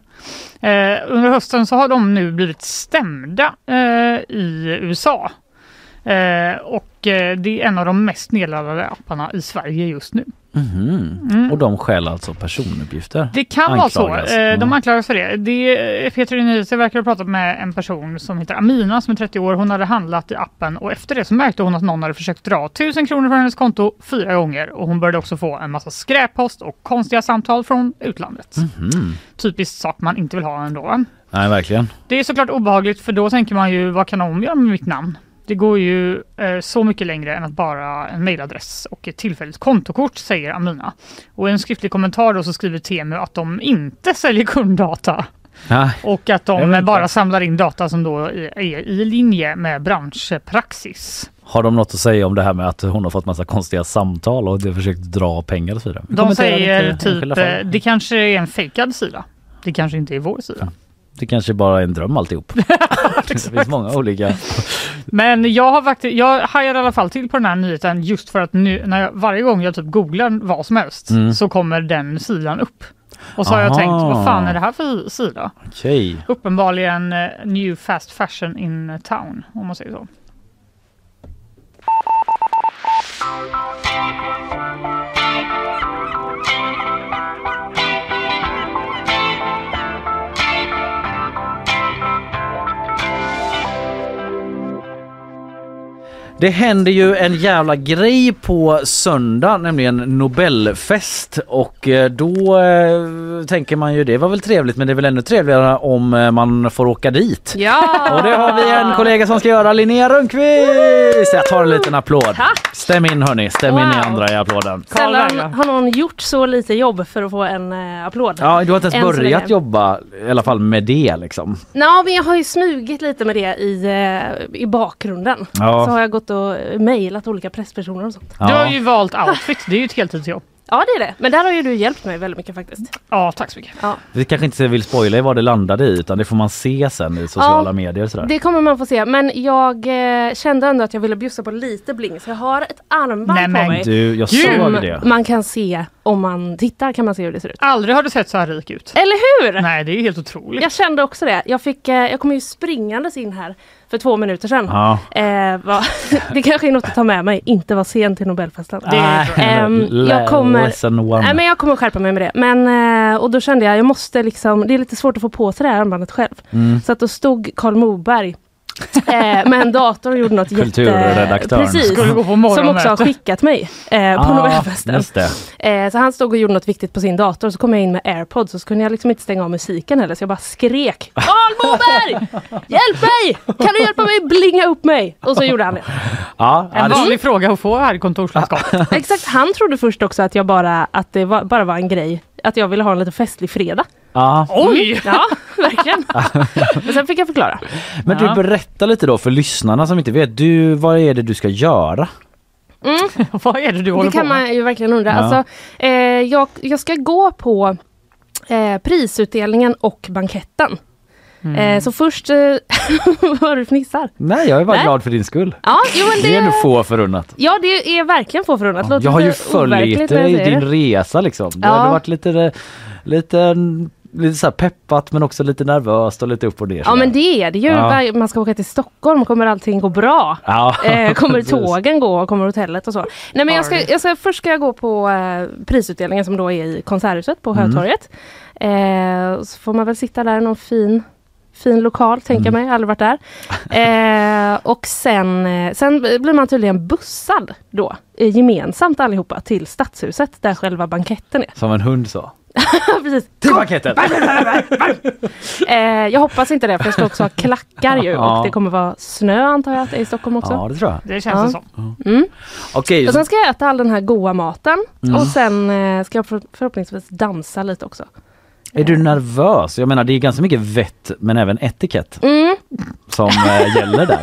Eh, under hösten så har de nu blivit stämda eh, i USA. Eh, och eh, det är en av de mest nedladdade apparna i Sverige just nu. Mhm. Mm. Och de stjäl alltså personuppgifter? Det kan vara Anklagas. så. Eh, De Mm. anklagas för det. det eh, Peter Nyheter verkar ha pratat med en person som heter Amina som är 30 år. Hon hade handlat i appen och efter det så märkte hon att någon hade försökt dra 1000 kronor från hennes konto fyra gånger och hon började också få en massa skräppost och konstiga samtal från utlandet. Mhm. Typiskt sak man inte vill ha ändå. va? Nej, verkligen. Det är såklart obehagligt för då tänker man ju vad kan de göra med mitt namn? Det går ju eh, så mycket längre än att bara en mejladress och ett tillfälligt kontokort säger Amina. Och i en skriftlig kommentar då så skriver Temu att de inte säljer kunddata Nej. och att Jag vet de inte. bara samlar in data som då är är i linje med branschpraxis. Har de något att säga om det här med att hon har fått massa konstiga samtal och de har försökt dra pengar och så vidare? Vi De kommenterar säger lite typ enskilda eh, fall. det kanske är en fejkad sida. Det kanske inte är vår sida. Det kanske bara är en dröm alltihop. det finns många olika. Men jag har faktiskt, jag hajar i alla fall till på den här nyheten just för att nu, när jag, varje gång jag typ googlar vad som helst Mm. så kommer den sidan upp. Och så har jag Aha. tänkt, vad fan är det här för sida? Okej. Uppenbarligen eh, new fast fashion in town, om man säger så. Det händer ju en jävla grej på söndag, nämligen Nobelfest. Och eh, då eh, tänker man ju det var väl trevligt men det är väl ännu trevligare om eh, man får åka dit. Ja! Och det har vi en kollega som ska göra, Linnea Rönnqvist! Jag tar en liten applåd. Tack! Stäm in hörni, stäm in i Wow. andra i applåden. Sällan har någon gjort så lite jobb för att få en eh, applåd. Ja, du har inte Än ens så börjat länge. jobba i alla fall med det liksom. Ja, men jag har ju smugit lite med det i, eh, i bakgrunden. Ja. Så har jag gått och eh, mejlat olika presspersoner och sånt. Ja. Du har ju valt outfit, det är ju ett heltidsjobb. Ja, det är det. Men där har ju du hjälpt mig väldigt mycket faktiskt. Ja, tack så mycket. Ja. Vi kanske inte vill spoila i vad det landade i utan det får man se sen i sociala Ja, medier och sådär. Det kommer man få se, men jag eh, kände ändå att jag ville bjussa på lite bling så jag har ett armband Nej, men på mig. du, jag som såg det. man kan se om man tittar kan man se hur det ser ut. Aldrig har du sett så här rik ut. Eller hur? Nej, det är helt otroligt. Jag kände också det. Jag, fick, eh, jag kom ju springandes in här för två minuter sedan. Ja. Eh, va, det kanske är något att ta med mig, inte vara sen till Nobelfesten. Nej, Ehm, jag, le- kommer, lesson one. nej, men jag kommer skärpa mig med det. Men, eh, och då kände jag, jag måste liksom, det är lite svårt att få på sig det här armbandet själv. Mm. Så att då stod Karl Moberg eh, med en dator och gjorde något jätte... Kulturredaktören. Precis, Skulle gå på som morgonmöte. också har skickat mig eh, på Ah, Nobelfesten. just det. Eh, så han stod och gjorde något viktigt på sin dator, så kom jag in med airpods och så kunde jag liksom inte stänga av musiken heller, så jag bara skrek Karl Moberg! Hjälp mig! Kan du hjälpa mig blinga upp mig? Och så gjorde han det. Ja, En ja, det- vanlig fråga att få här i kontorslandskapet. Exakt, han trodde först också att jag bara, att det var, bara var en grej, att jag ville ha en lite festlig fredag. Ja. Mm, Ja, verkligen. Men sen fick jag förklara. Men Ja. du berätta lite då för lyssnarna som inte vet. Du, vad är det du ska göra? Mm. Vad är det du Det kan man ju verkligen undra. Ja. Alltså, eh, jag, jag ska gå på eh, prisutdelningen och banketten. Mm. Eh, så först... Eh, vad du fnissar. Nej, jag är bara Nej. glad för din skull. Ja, jo, men det... är det, ändå få förunnat. ja, det är verkligen få förunnat. Låter Jag har ju lite overkligt följt när jag dig i säger din det. resa liksom. Du Ja. har varit lite, lite, lite så här peppat men också lite nervöst och lite upp och ner. Ja, sådär. men det är det ju. Ja. Var- Man ska åka till Stockholm, kommer allting gå bra? Ja, Eh, kommer precis. tågen gå? Kommer hotellet och så? Nej, men jag ska, Alright. jag ska, först ska jag gå på eh, prisutdelningen som då är i Konserthuset på Mm. Hötorget. Eh, så får man väl sitta där i någon fin, fin lokal, Mm. tänker jag mig. Aldrig varit där. Eh, och sen, eh, sen blir man tydligen bussad då, eh, gemensamt allihopa till Stadshuset där själva banketten är. Som en hund så. Precis. Till paketet! Eh, jag hoppas inte det, för jag ska också ha klackar ju. Ja. Och det kommer vara snö antar jag att det är i Stockholm också. Ja, det tror jag. Det känns det som. Mm. Okej, Och sen ska jag äta all den här goa maten. Mm. Och sen eh, ska jag för- förhoppningsvis dansa lite också. är du nervös? Jag menar det är ganska mycket vett men även etikett Mm. som eh, gäller där.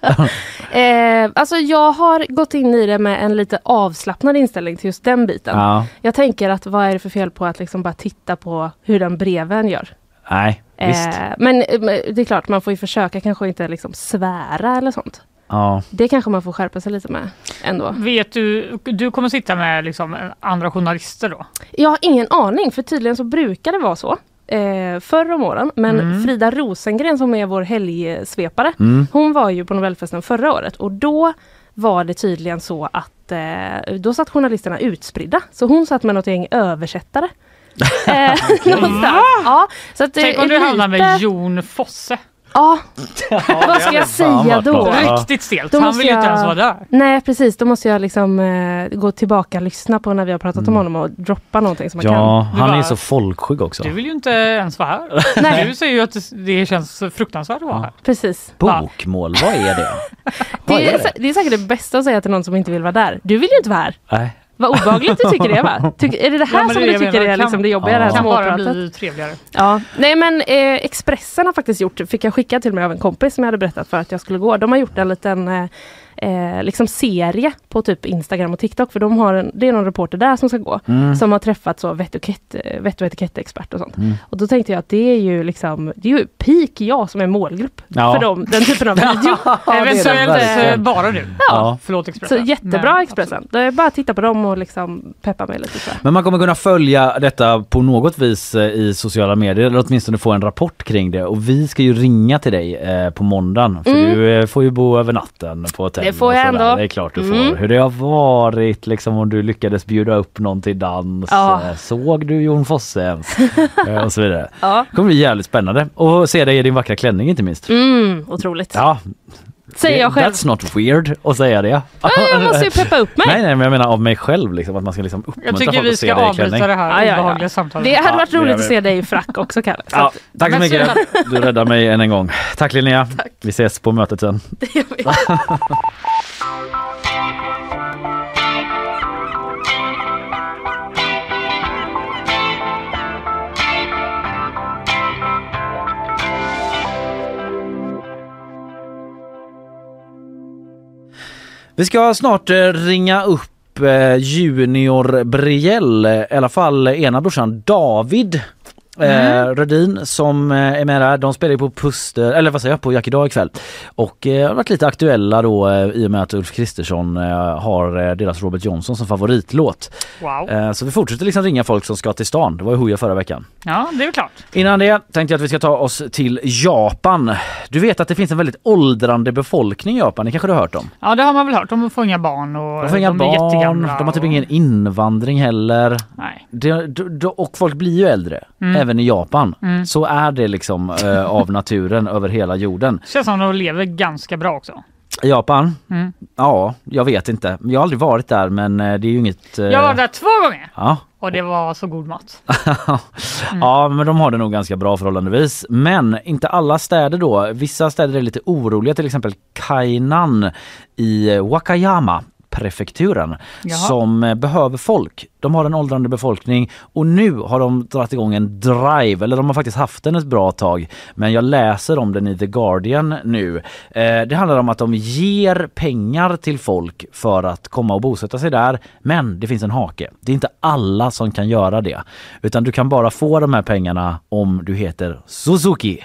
Eh, alltså jag har gått in i det med en lite avslappnad inställning till just den biten. Ja. Jag tänker att vad är det för fel på att liksom bara titta på hur den breven gör? Nej, visst. Eh, men eh, men det är klart, man får ju försöka kanske inte liksom svära eller sånt. Ja. Det kanske man får skärpa sig lite med ändå. Vet du, du kommer sitta med liksom andra journalister då? Jag har ingen aning, för tydligen så brukar det vara så. Eh, förr om åren, men Mm. Frida Rosengren som är vår helgsvepare, Mm. hon var ju på Nobelfesten förra året och då var det tydligen så att att eh, då satt journalisterna utspridda. Så hon satt med något gäng översättare. eh, någonstans. Ja, så att, eh, Tänk om du hamnar med lite- Jon Fosse. Ja, vad ska jag säga då? Riktigt stelt. Då Han måste vill ju inte jag- ens vara där. Nej precis, då måste jag liksom eh, gå tillbaka och lyssna på när vi har pratat om honom och droppa någonting som man kan. Ja, han är bara- så folkskygg också. Du vill ju inte ens vara här. Nej. Du säger ju att det känns fruktansvärt att vara här. Precis. Bokmål, vad är det? Vad Det är är, det? sä- det är säkert det bästa att säga till någon som inte vill vara där. Du vill ju inte vara här. Nej. Vad obehagligt du tycker det va? Tyck, är det det här Ja, men som det är du det jag tycker menar. är Kan- liksom det jobbiga? Det här kan bara småpratet? bli trevligare. Ja. Nej men eh, Expressen har faktiskt gjort, fick jag skicka till mig av en kompis som jag hade berättat för att jag skulle gå. De har gjort en liten eh, eh, liksom serie på typ Instagram och TikTok för de har en, det är någon reporter där som ska gå. Mm. Som har träffat så vett och, etikett, eh, vett och etikettexpert och sånt. Mm. Och då tänkte jag att det är ju liksom, det är ju peak jag som är målgrupp Ja. för dem, den typen av video. Ja, Eh, Eventuellt så att, eh, eh, bara du. Ja. Förlåt Så Expressen. jättebra Expressen. Det är bara att titta på dem och liksom peppa mig lite. tror jag. Men man kommer kunna följa detta på något vis eh, i sociala medier eller åtminstone få en rapport kring det. Och vi ska ju ringa till dig eh, på måndagen för Mm. du eh, får ju bo över natten på hotell. Det får och jag sådär. ändå. Det är klart du Mm. får. Hur det har varit liksom om du lyckades bjuda upp någon till dans. Ja. Eh, Såg du Jon Fosse ens? Eh, och så vidare. Ja. Det kommer bli jävligt spännande. Och se dig i din vackra klänning inte minst. Mm, otroligt. Ja. Säger jag själv. That's not weird att säga det. Ja, jag måste ju peppa upp mig. Nej, nej, men jag menar av mig själv liksom att man ska liksom uppmuntra Jag tycker folk vi att se ska dig i avbryta klänning. det här Ja, ja, ja. obehagliga samtalet. Det hade varit det roligt gör vi. att se dig i frack också Kalle. Så Ja, att- tack så Men mycket. snälla. Du räddar mig än en gång. Tack Linnea. Vi ses på mötet sen. Vi ska snart eh, ringa upp eh, Junior Briell, eh, i alla fall ena brorsan David. Mm. Eh, Rödin som eh, är med där, de spelar ju på Puster, eller vad säger jag, på Jack idag ikväll. Och eh, har varit lite aktuella då eh, i och med att Ulf Kristersson eh, har eh, deras Robert Johnson som favoritlåt. Wow. Eh, så vi fortsätter liksom ringa folk som ska till stan, det var ju Hooja förra veckan. Ja, det är väl klart. Innan det tänkte jag att vi ska ta oss till Japan. Du vet att det finns en väldigt åldrande befolkning i Japan, det kanske du har hört om? Ja, det har man väl hört. De får inga barn och De får inga är barn, jättegamla. de har typ ingen invandring heller. Nej. Det, d- d- och folk blir ju äldre, Mm. även i Japan. Mm. Så är det liksom eh, av naturen över hela jorden. Känns som de lever ganska bra också. I Japan? Mm. Ja, jag vet inte. Jag har aldrig varit där men eh, det är ju inget... eh, Jag var där två gånger Ja. och det var så god mat. Mm. ja men de har det nog ganska bra förhållandevis. Men inte alla städer då. Vissa städer är lite oroliga till exempel Kainan i eh, Wakayama prefekturen Jaha. som eh, behöver folk. De har en åldrande befolkning och nu har de dragit igång en drive, eller de har faktiskt haft den ett bra tag men jag läser om den i The Guardian nu. Eh, det handlar om att de ger pengar till folk för att komma och bosätta sig där men det finns en hake. Det är inte alla som kan göra det utan du kan bara få de här pengarna om du heter Suzuki.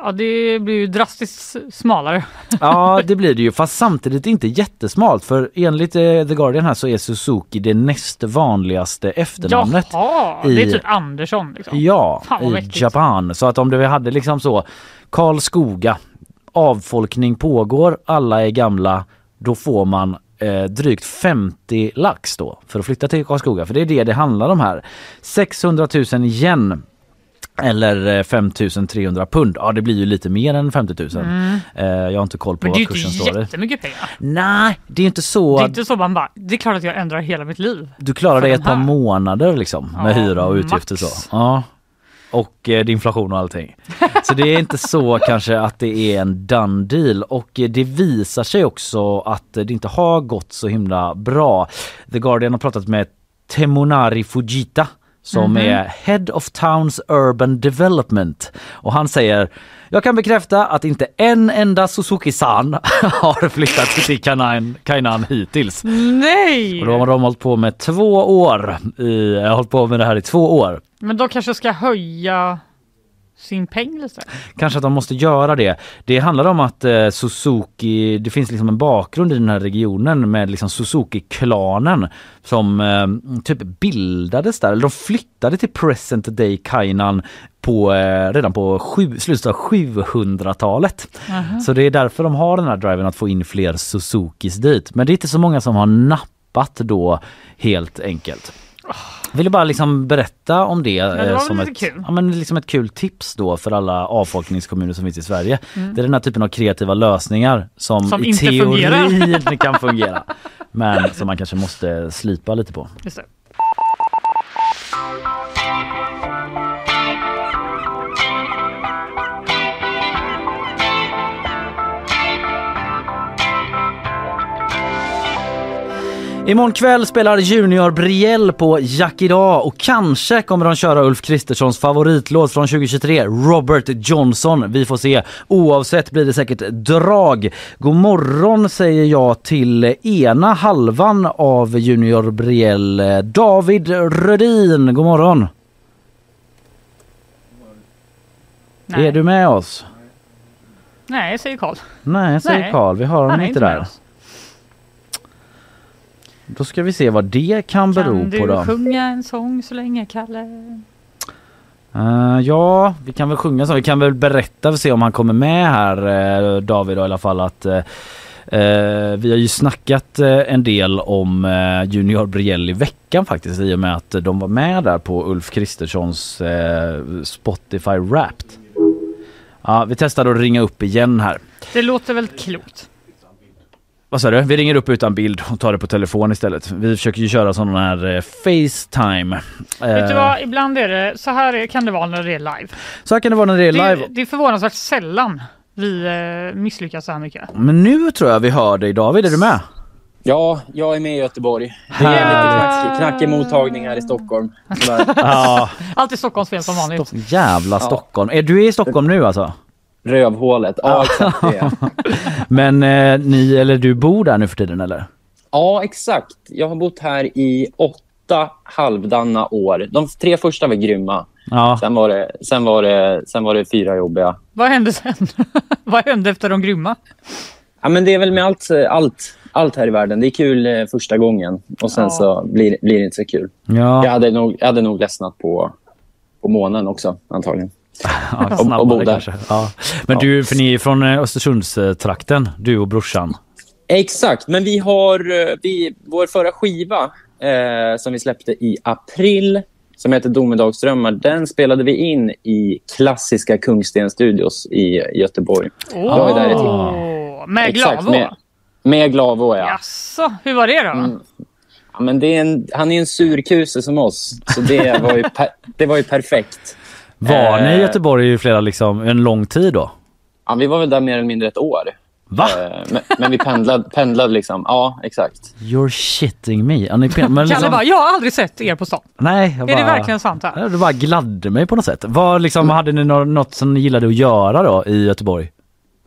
Ja, det blir ju drastiskt smalare. Ja det blir det ju fast samtidigt inte jättesmalt för enligt eh, The Guardian här så är Suzuki det näst vanligaste efternamnet. Jaha, det är i- typ Andersson liksom. Ja, Fan, vad i mäktigt. Japan. Så att om du hade liksom så Karl Skoga, avfolkning pågår, alla är gamla, då får man eh, drygt 50 lax då för att flytta till Karlskoga. För det är det det handlar om här. 600 000 yen eller eh, 5 300 pund. Ja det blir ju lite mer än 50 000. Mm. Eh, jag har inte koll på Men det är ju vad kursen står inte i. jättemycket pengar. Nej, det är inte så Det är att inte så man bara, det är klart att jag ändrar hela mitt liv. du klarar för dig de ett par här. månader liksom med Ja, hyra och utgifter max. så. Ja. Och eh, det är inflation och allting. Så det är inte så kanske att det är en done deal. Och eh, det visar sig också att eh, det inte har gått så himla bra. The Guardian har pratat med Temonari Fujita som Mhm. är Head of Towns Urban Development. Och han säger jag kan bekräfta att inte en enda Suzuki-san har flyttat till Kainan, Kainan hittills. Nej! Och då har de hållit på med två år. I, jag har hållit på med det här i två år. Men de kanske ska höja sin peng lite. Kanske att de måste göra det. Det handlar om att eh, Suzuki, det finns liksom en bakgrund i den här regionen med liksom Suzuki-klanen som eh, typ bildades där, eller de flyttade till present day Kainan på, eh, redan på sju, slutet av 700-talet. Aha. Så det är därför de har den här driven att få in fler Suzukis dit. Men det är inte så många som har nappat tappat då helt enkelt. Ville bara liksom berätta om det, det var eh, väl som, lite ett, kul. ja, men liksom ett kul tips då för alla avfolkningskommuner som finns i Sverige. Mm. Det är den här typen av kreativa lösningar som, Som i inte fungerar. teorin kan fungera. Men som man kanske måste slipa lite på. Just det. Imorgon kväll spelar Junior Brielle på Jack idag och kanske kommer de köra Ulf Kristerssons favoritlåt från 2023, Robert Johnson. Vi får se. Oavsett blir det säkert drag. God morgon säger jag till ena halvan av Junior Brielle, David Rödin. God morgon! Är du med oss? Nej, säger Karl. Nej, säger Nej, Karl. Vi har han honom är inte inte med där. oss. Då ska vi se vad det kan, Kan bero på du då. sjunga en sång så länge, Kalle? Eh, ja, vi kan väl sjunga så. Vi kan väl berätta och se om han kommer med här, eh, David, då, i alla fall att eh, eh, vi har ju snackat eh, en del om eh, Junior Brielle i veckan faktiskt i och med att eh, de var med där på Ulf Kristerssons eh, Spotify Wrapped. Ja, vi testar att ringa upp igen här. Det låter väl klokt? Vad sa du? Vi ringer upp utan bild och tar det på telefon istället. Vi försöker ju köra sån här eh, Facetime. Vet du Eh, vad, ibland är det så här är- kan det vara när det är live. Så här kan det vara när det är live. Det, det är förvånansvärt sällan vi eh, misslyckas så här mycket. Men nu tror jag vi hör dig David, är du med? Ja, jag är med i Göteborg. Det är lite knackig, knackig mottagning här i Stockholm. Tyvärr. Ja, Alltid Stockholms fel som vanligt. jävla Stockholm. Är du i Stockholm nu alltså? Rövhålet. Ja, exakt det. är jag. Men eh, ni, eller du bor där nu för tiden eller? Ja, exakt. Jag har bott här i åtta halvdana år. De tre första var grymma. Ja. Sen, var det, sen, var det, sen var det fyra jobbiga. Vad hände sen? Vad hände efter de grymma? Ja, men det är väl med allt, eh, allt, allt här i världen. Det är kul eh, första gången och sen Ja. Alltså, så blir, blir det inte så kul. Ja. Jag, hade nog, jag hade nog ledsnat på, på månen också, antagligen. Ja, Och- och bo snabbare där. kanske. Ja. Men du, för ni är från eh, Östersundstrakten, du och brorsan. Exakt, men vi har eh, vi, vår förra skiva eh, som vi släppte i april som heter Domedagsdrömmar. Den spelade vi in i klassiska Kungsten Studios i Göteborg. Jag var ju där i Åh, med Glavo? med, med Glavo, ja. Jaså, hur var det då? Mm. ja men det är en, han är en surkuse som oss, så det var ju, per, det var ju perfekt. Var ni i Eh, Göteborg i flera, liksom, en lång tid då? Ja, vi var väl där mer eller mindre ett år. Eh, Va? Men, men vi pendlade, pendlade liksom. Ja, exakt. You're shitting me. Ja, ni, men Kalle liksom, bara, jag har aldrig sett er på stan. nej, jag Är det bara- verkligen sant? Här? Ja, Du bara gladde mig på något sätt. Vad liksom, Hade ni nå- något som ni gillade att göra då i Göteborg?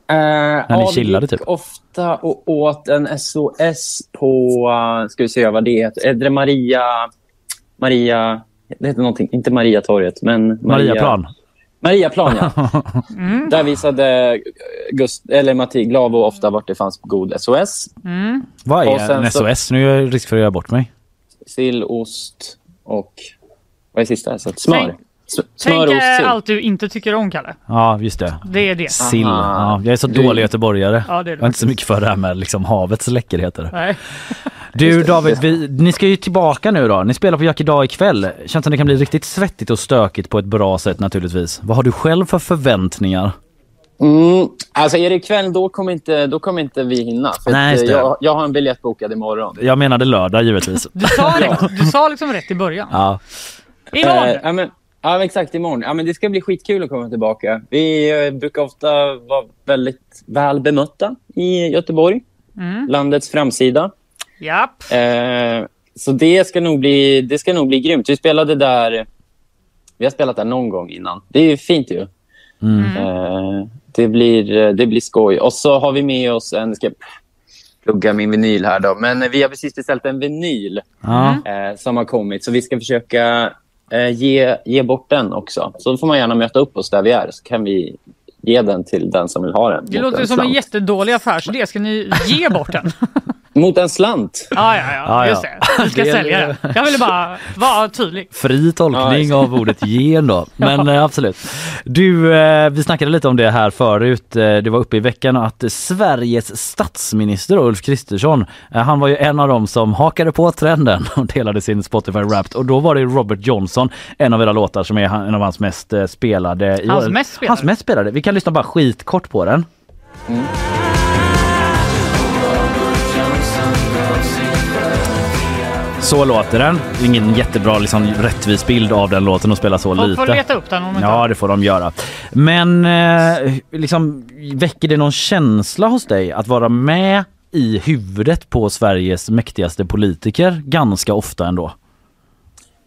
Eh, När ni ja, chillade, vi gick typ. ofta och åt en SOS på, eh, ska vi se vad det heter, Edre Maria, Maria, det heter någonting, inte Mariatorget, men Maria, Mariaplan. Mariaplan, ja. Mm. Där visade Gust, eller Matti Glavo ofta vart det fanns god SOS. Mm. Vad Och är sen en så- SOS? Nu är jag risk för att göra bort mig. Sill, ost och, vad är sista? Så, smör. Tänk- S- smör, Tänk ost, eh, sill. allt du inte tycker om, Kalle. Ja, just det. Det är det. Sill. Ja, jag är så Du- dålig göteborgare. Ja, det är du jag är inte så mycket för det här med liksom havets läckerheter. Nej. Du David, vi, ni ska ju tillbaka nu då. Ni spelar på Jack idag ikväll. Känns som det kan bli riktigt svettigt och stökigt på ett bra sätt naturligtvis. Vad har du själv för förväntningar? Mm, alltså är det ikväll, då kommer inte, då kommer inte vi hinna. För Nej, att, just eh, det. jag, jag har en biljett bokad imorgon. Jag menade lördag givetvis. Du sa, liksom, du sa liksom rätt i början. Ja. Imorgon! Eh, ja, men, ja, men exakt. Imorgon. Ja, men det ska bli skitkul att komma tillbaka. Vi eh, brukar ofta vara väldigt väl bemötta i Göteborg, Mm. landets framsida. Japp. Eh, så det ska, nog bli, det ska nog bli grymt. Vi spelade där... Vi har spelat där någon gång innan. Det är ju fint ju. Mm. Eh, det, blir, eh, det blir skoj. Och så har vi med oss en... Ska jag plugga min vinyl här då. Men eh, vi har precis beställt en vinyl Ja. eh, som har kommit. Så vi ska försöka eh, ge, ge bort den också. Så då får man gärna möta upp oss där vi är. Så kan vi ge den till den som vill ha den. Det mot låter en som en slant. jättedålig affär, så det ska ni ge bort den. Mot en slant. Ja, ja, ja. Ja, ja. Just det. Vi ska Det är- sälja det. Jag ville bara vara tydlig. Fri tolkning av ordet gen då. Men eh, absolut. Du, eh, vi snackade lite om det här förut. Eh, Det var uppe i veckan att Sveriges statsminister då, Ulf Kristersson, eh, han var ju en av dem som hakade på trenden och delade sin Spotify Wrapped och då var det Robert Johnson, en av era låtar som är han- en av hans mest eh, spelade. i Hans år. mest spelade? Hans mest spelade. Vi kan lyssna bara skitkort på den. Så låter den. Det är Ingen jättebra liksom, rättvis bild av den låten att spela så Folk lite. får leta upp den om inte Ja, det får de göra. Men eh, liksom, väcker det någon känsla hos dig att vara med i huvudet på Sveriges mäktigaste politiker ganska ofta ändå?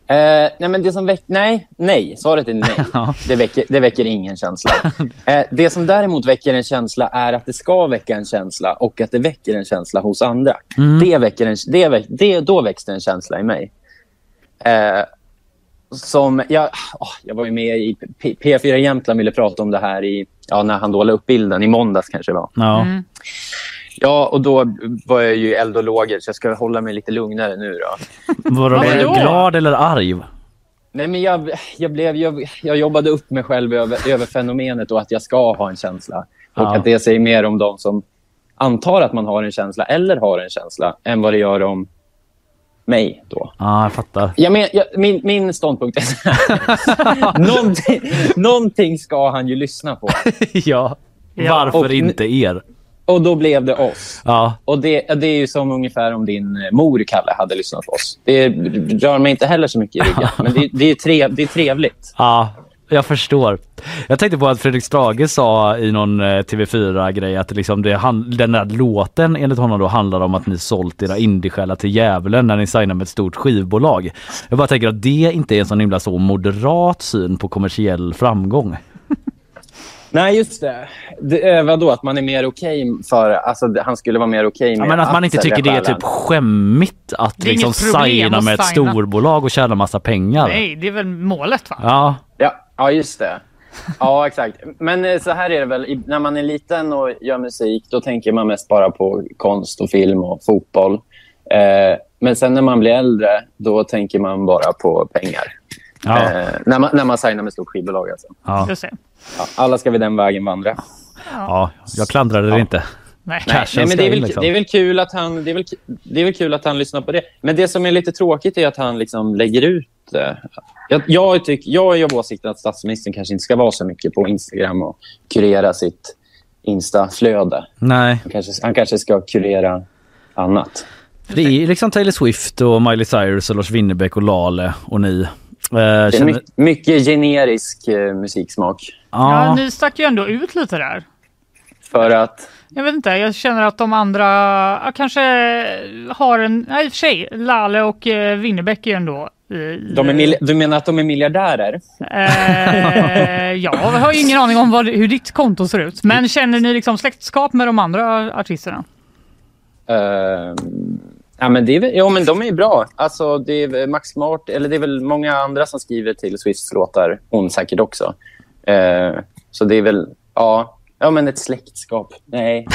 Eh, nej, men det som väck- nej, nej, svaret är nej. det, väcker, det väcker ingen känsla. Eh, det som däremot väcker en känsla är att det ska väcka en känsla och att det väcker en känsla hos andra. Det väcker en, det väck, det, då väcks det en känsla i mig. Eh, som jag, åh, jag var ju med i P- P4 Jämtland ville prata om det här i, ja, när han då la upp bilden, i måndags kanske det var. Ja. Ja, och då var jag ju eld och lågor så jag ska hålla mig lite lugnare nu. Då. Var du Vadå? glad eller arg? Nej, men jag, jag, blev, jag, jag jobbade upp mig själv över, över fenomenet och att jag ska ha en känsla. Och Ja. att det säger mer om de som antar att man har en känsla eller har en känsla än vad det gör om mig. Då. Ja, jag fattar. Jag men, jag, min, min ståndpunkt är så här. någonting, någonting ska han ju lyssna på. ja. Varför Och- inte er? Och då blev det oss. Ja. Och det, det är ju som ungefär om din eh, mor, Kalle, hade lyssnat på oss. Det rör mig inte heller så mycket i ryggen, men det, det, är, trev, det är trevligt. Ja, jag förstår. Jag tänkte på att Fredrik Strage sa i någon eh, TV4-grej att liksom det, han, den där låten enligt honom då handlar om att ni sålt era indiesjälar till djävulen när ni signar med ett stort skivbolag. Jag bara tänker att det inte är en sån himla så moderat syn på kommersiell framgång. Nej, just det. det eh, vadå, att man är mer okej för... Alltså, det- han skulle vara mer okej Ja, med men att man inte sälja tycker det är själen. typ skämmigt att Det är liksom inget problem signa att med ett signa. storbolag och tjäna massa pengar. Nej, det är väl målet, va? Ja. Ja, ja just det. Ja, exakt. Men eh, så här är det väl. I- När man är liten och gör musik, då tänker man mest bara på konst och film och fotboll. Eh, men sen när man blir äldre, då tänker man bara på pengar. Ja. Eh, när, man, när man signar med stort skivbolag. Alltså. Ja. Just det. Ja, alla ska vi den vägen vandra. Ja, jag klandrar det inte. Nej. Nej, Cashen nej, men ska det är, in, väl, liksom. det, är väl kul att han, det, är väl, det är väl kul att han lyssnar på det. Men det som är lite tråkigt är att han liksom lägger ut det. Jag, jag, tycker, jag är av åsikten att statsministern kanske inte ska vara så mycket på Instagram och kurera sitt Insta-flöde. Nej. Han kanske, han kanske ska kurera annat. För Det är ju liksom Taylor Swift och Miley Cyrus och Lars Winnerbäck och Lale och ni. Eh, Det är känner- mycket, mycket generisk eh, musiksmak. Ja, ni stack ju ändå ut lite där. För att... Jag vet inte, jag känner att de andra ja, kanske har en... Nej, i och för sig, Lalle och eh, Winnerbäck är ju ändå... eh, De är mil- du menar att de är miljardärer? Eh, jag har ju ingen aning om vad, hur ditt konto ser ut. Men känner ni liksom släktskap med de andra artisterna? Eh, ja, men det är väl, jo, men de är ju bra. Alltså, det är väl Max Mart, eller det är väl många andra som skriver till Swifts låtar. Hon säkert också. Eh, så det är väl, ja. Ja, men ett släktskap. Nej.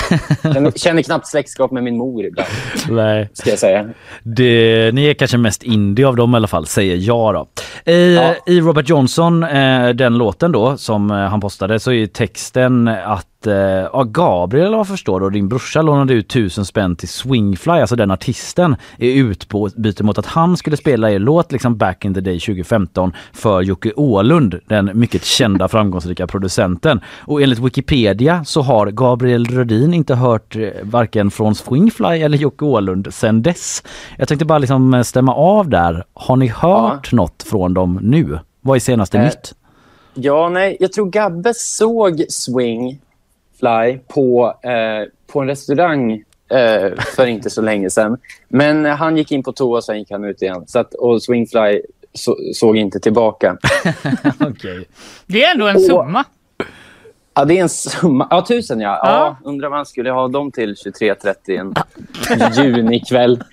Känner, känner knappt släktskap med min mor ibland, Nej. ska jag säga. Det, ni är kanske mest indie av dem i alla fall, säger jag då. I, eh, i Robert Johnson, eh, den låten då som eh, han postade, så är ju texten att eh, ja, Gabriel eller vad jag förstår då, din brorsa lånade ut tusen spänn till Swingfly, alltså den artisten, i utbyte mot att han skulle spela er låt liksom back in the day 2015 för Jocke Åhlund, den mycket kända framgångsrika producenten. Och enligt Wikipedia så har Gabriel Rödin inte hört eh, varken från Swingfly eller Jocke Åhlund sen dess. Jag tänkte bara liksom eh, stämma av där. Har ni hört något från dem nu? Vad är senaste Eh, nytt? Ja, nej. Jag tror Gabbe såg Swing Fly på, eh, på en restaurang eh, för inte så länge sedan. Men han gick in på toa och sen gick han ut igen. Så att, och Swing Fly så, såg inte tillbaka. Det är ändå en Åh. summa. Ja, det är en summa. Ja, tusen ja. ja. Ja. Undrar vad han skulle ha dem till 23.30 en junikväll.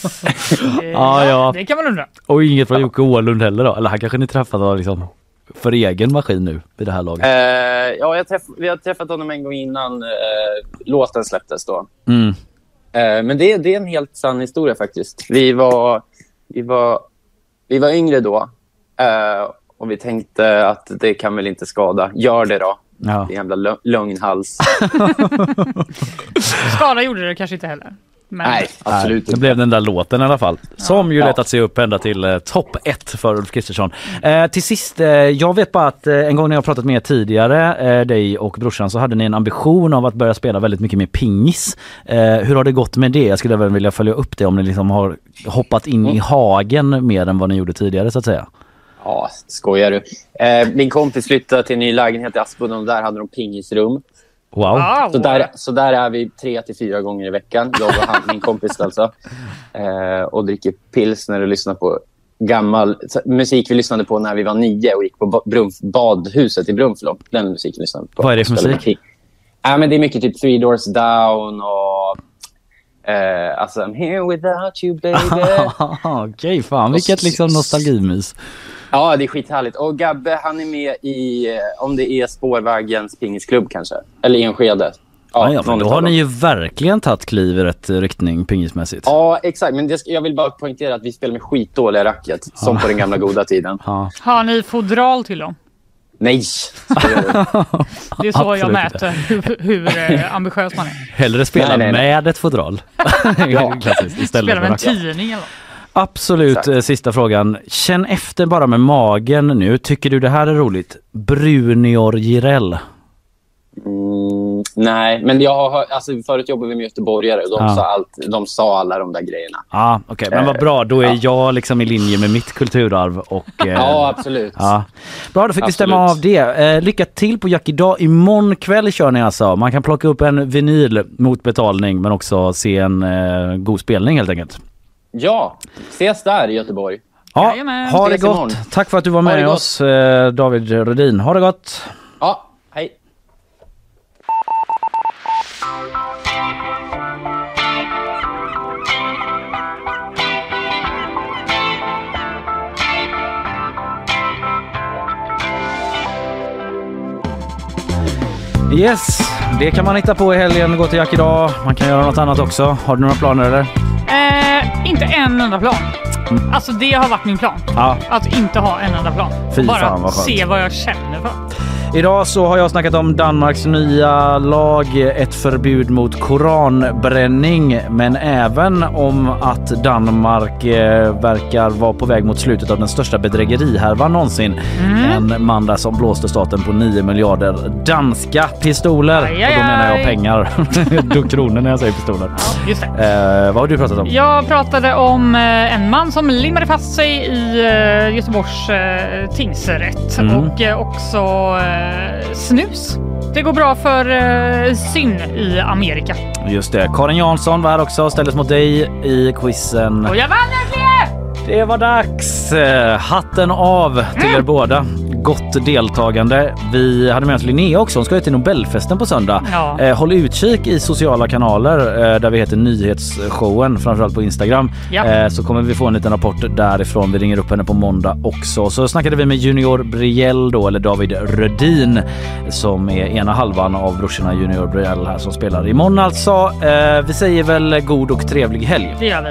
Ja, ja. Det kan man undra. Och inget från Jocke Åhlund heller då? Eller han kanske ni träffat av liksom för egen maskin nu vid det här laget? Eh, ja, jag träff, vi har träffat honom en gång innan eh, låten släpptes. då. Mm. Eh, Men det, det är en helt sann historia faktiskt. Vi var, vi var, vi var yngre då eh, och vi tänkte att det kan väl inte skada. Gör det då. Ja. Jävla lö- lögnhals. Skada gjorde det kanske inte heller. Men absolut Det blev den där låten i alla fall. Som ju Ja. letat sig upp ända till eh, topp ett för Ulf Kristersson. Eh, till sist, eh, jag vet bara att eh, en gång när jag pratat med er tidigare, eh, dig och brorsan, så hade ni en ambition av att börja spela väldigt mycket mer pingis. Eh, hur har det gått med det? Jag skulle även vilja följa upp det om ni liksom har hoppat in i hagen mer än vad ni gjorde tidigare så att säga. Ja, skojar du. Eh, min kompis flyttade till en ny lägenhet i Aspudden och där hade de pingisrum. Wow. Så, där, så där är vi tre till fyra gånger i veckan, jag och han, min kompis alltså. Eh, och dricker pilsner och lyssnar på gammal så- musik vi lyssnade på när vi var nio och gick på ba- Brunf, badhuset i Brunflo. Den musiken lyssnade vi på. Vad är det för musik? Ja, men det är mycket typ Three Doors Down och... Eh, alltså, I'm here without you baby. Okej, fan vilket liksom nostalgimys. Ja, det är skithärligt. Och Gabbe, han är med i, eh, om det är Spårvägens pingisklubb kanske. Eller Enskede. Ja, ja, men någon då utav har ni dem. ju verkligen tagit kliv i rätt eh, riktning pingismässigt. Ja, exakt. Men det, ska- jag vill bara poängtera att vi spelar med skitdåliga racket. Som Ja. på den gamla goda tiden. Har ni fodral till dem? Nej! Det är så jag Absolut mäter hur, hur eh, ambitiös man är. Hellre spela Nej, nej, nej. med ett fodral. Klassiskt, istället Spelar för med en typ. racket. tidning eller något. Absolut, eh, sista frågan. Känn efter bara med magen nu. Tycker du det här är roligt? Brunior Jireel. Mm, nej, men jag har, alltså, förut jobbade vi med göteborgare. De, Ja. sa allt, de sa alla de där grejerna. Ja, okej, men vad Eh, bra. Då är jag liksom i linje med mitt kulturarv och... eh, Ja, absolut. Ja. Bra, då fick vi Absolut. stämma av det. Eh, lycka till på Jack idag. Imorgon kväll kör ni alltså. Man kan plocka upp en vinyl mot betalning men också se en eh, god spelning helt enkelt. Ja, ses där i Göteborg. Ja, ha det Ses imorgon. gott. Tack för att du var Ha det med gott. oss eh, David Rödin. Ha det gott. Ja, hej. Yes, det kan man hitta på i helgen. Gå till Jack idag. Man kan göra något annat också. Har du några planer eller? Eh, inte en enda plan. Mm. Alltså det har varit min plan. Ja. Att inte ha en enda plan. Fy Bara fan, vad skönt. se vad jag känner för. Idag så har jag snackat om Danmarks nya lag, ett förbud mot koranbränning, men även om att Danmark eh, verkar vara på väg mot slutet av den största bedrägerihärvan nånsin. Mm. En man där som blåste staten på 9 miljarder danska pistoler. Aj, aj, Och då menar jag aj. pengar. Du kronor när jag säger pistoler. Just det. Eh, vad har du pratat om? Jag pratade om eh, en man som limmade fast sig i eh, Göteborgs eh, tingsrätt Mm. och eh, också eh, snus. Det går bra för eh, syn i Amerika. Just det. Karin Jansson var här också och ställdes mot dig i quizen. Och jag vann äntligen! Det var dags! Eh, Hatten av till er båda. Gott deltagande. Vi hade med oss Linnea också. Hon ska ju till Nobelfesten på söndag. Ja. Eh, Håll utkik i sociala kanaler eh, där vi heter Nyhetsshowen, framförallt på Instagram. Ja. Eh, Så kommer vi få en liten rapport därifrån. Vi ringer upp henne på måndag också. Så snackade vi med Junior Briell då, eller David Rödin som är ena halvan av brorsorna Junior Briell här som spelar imorgon alltså. Eh, Vi säger väl god och trevlig helg. Det gör vi.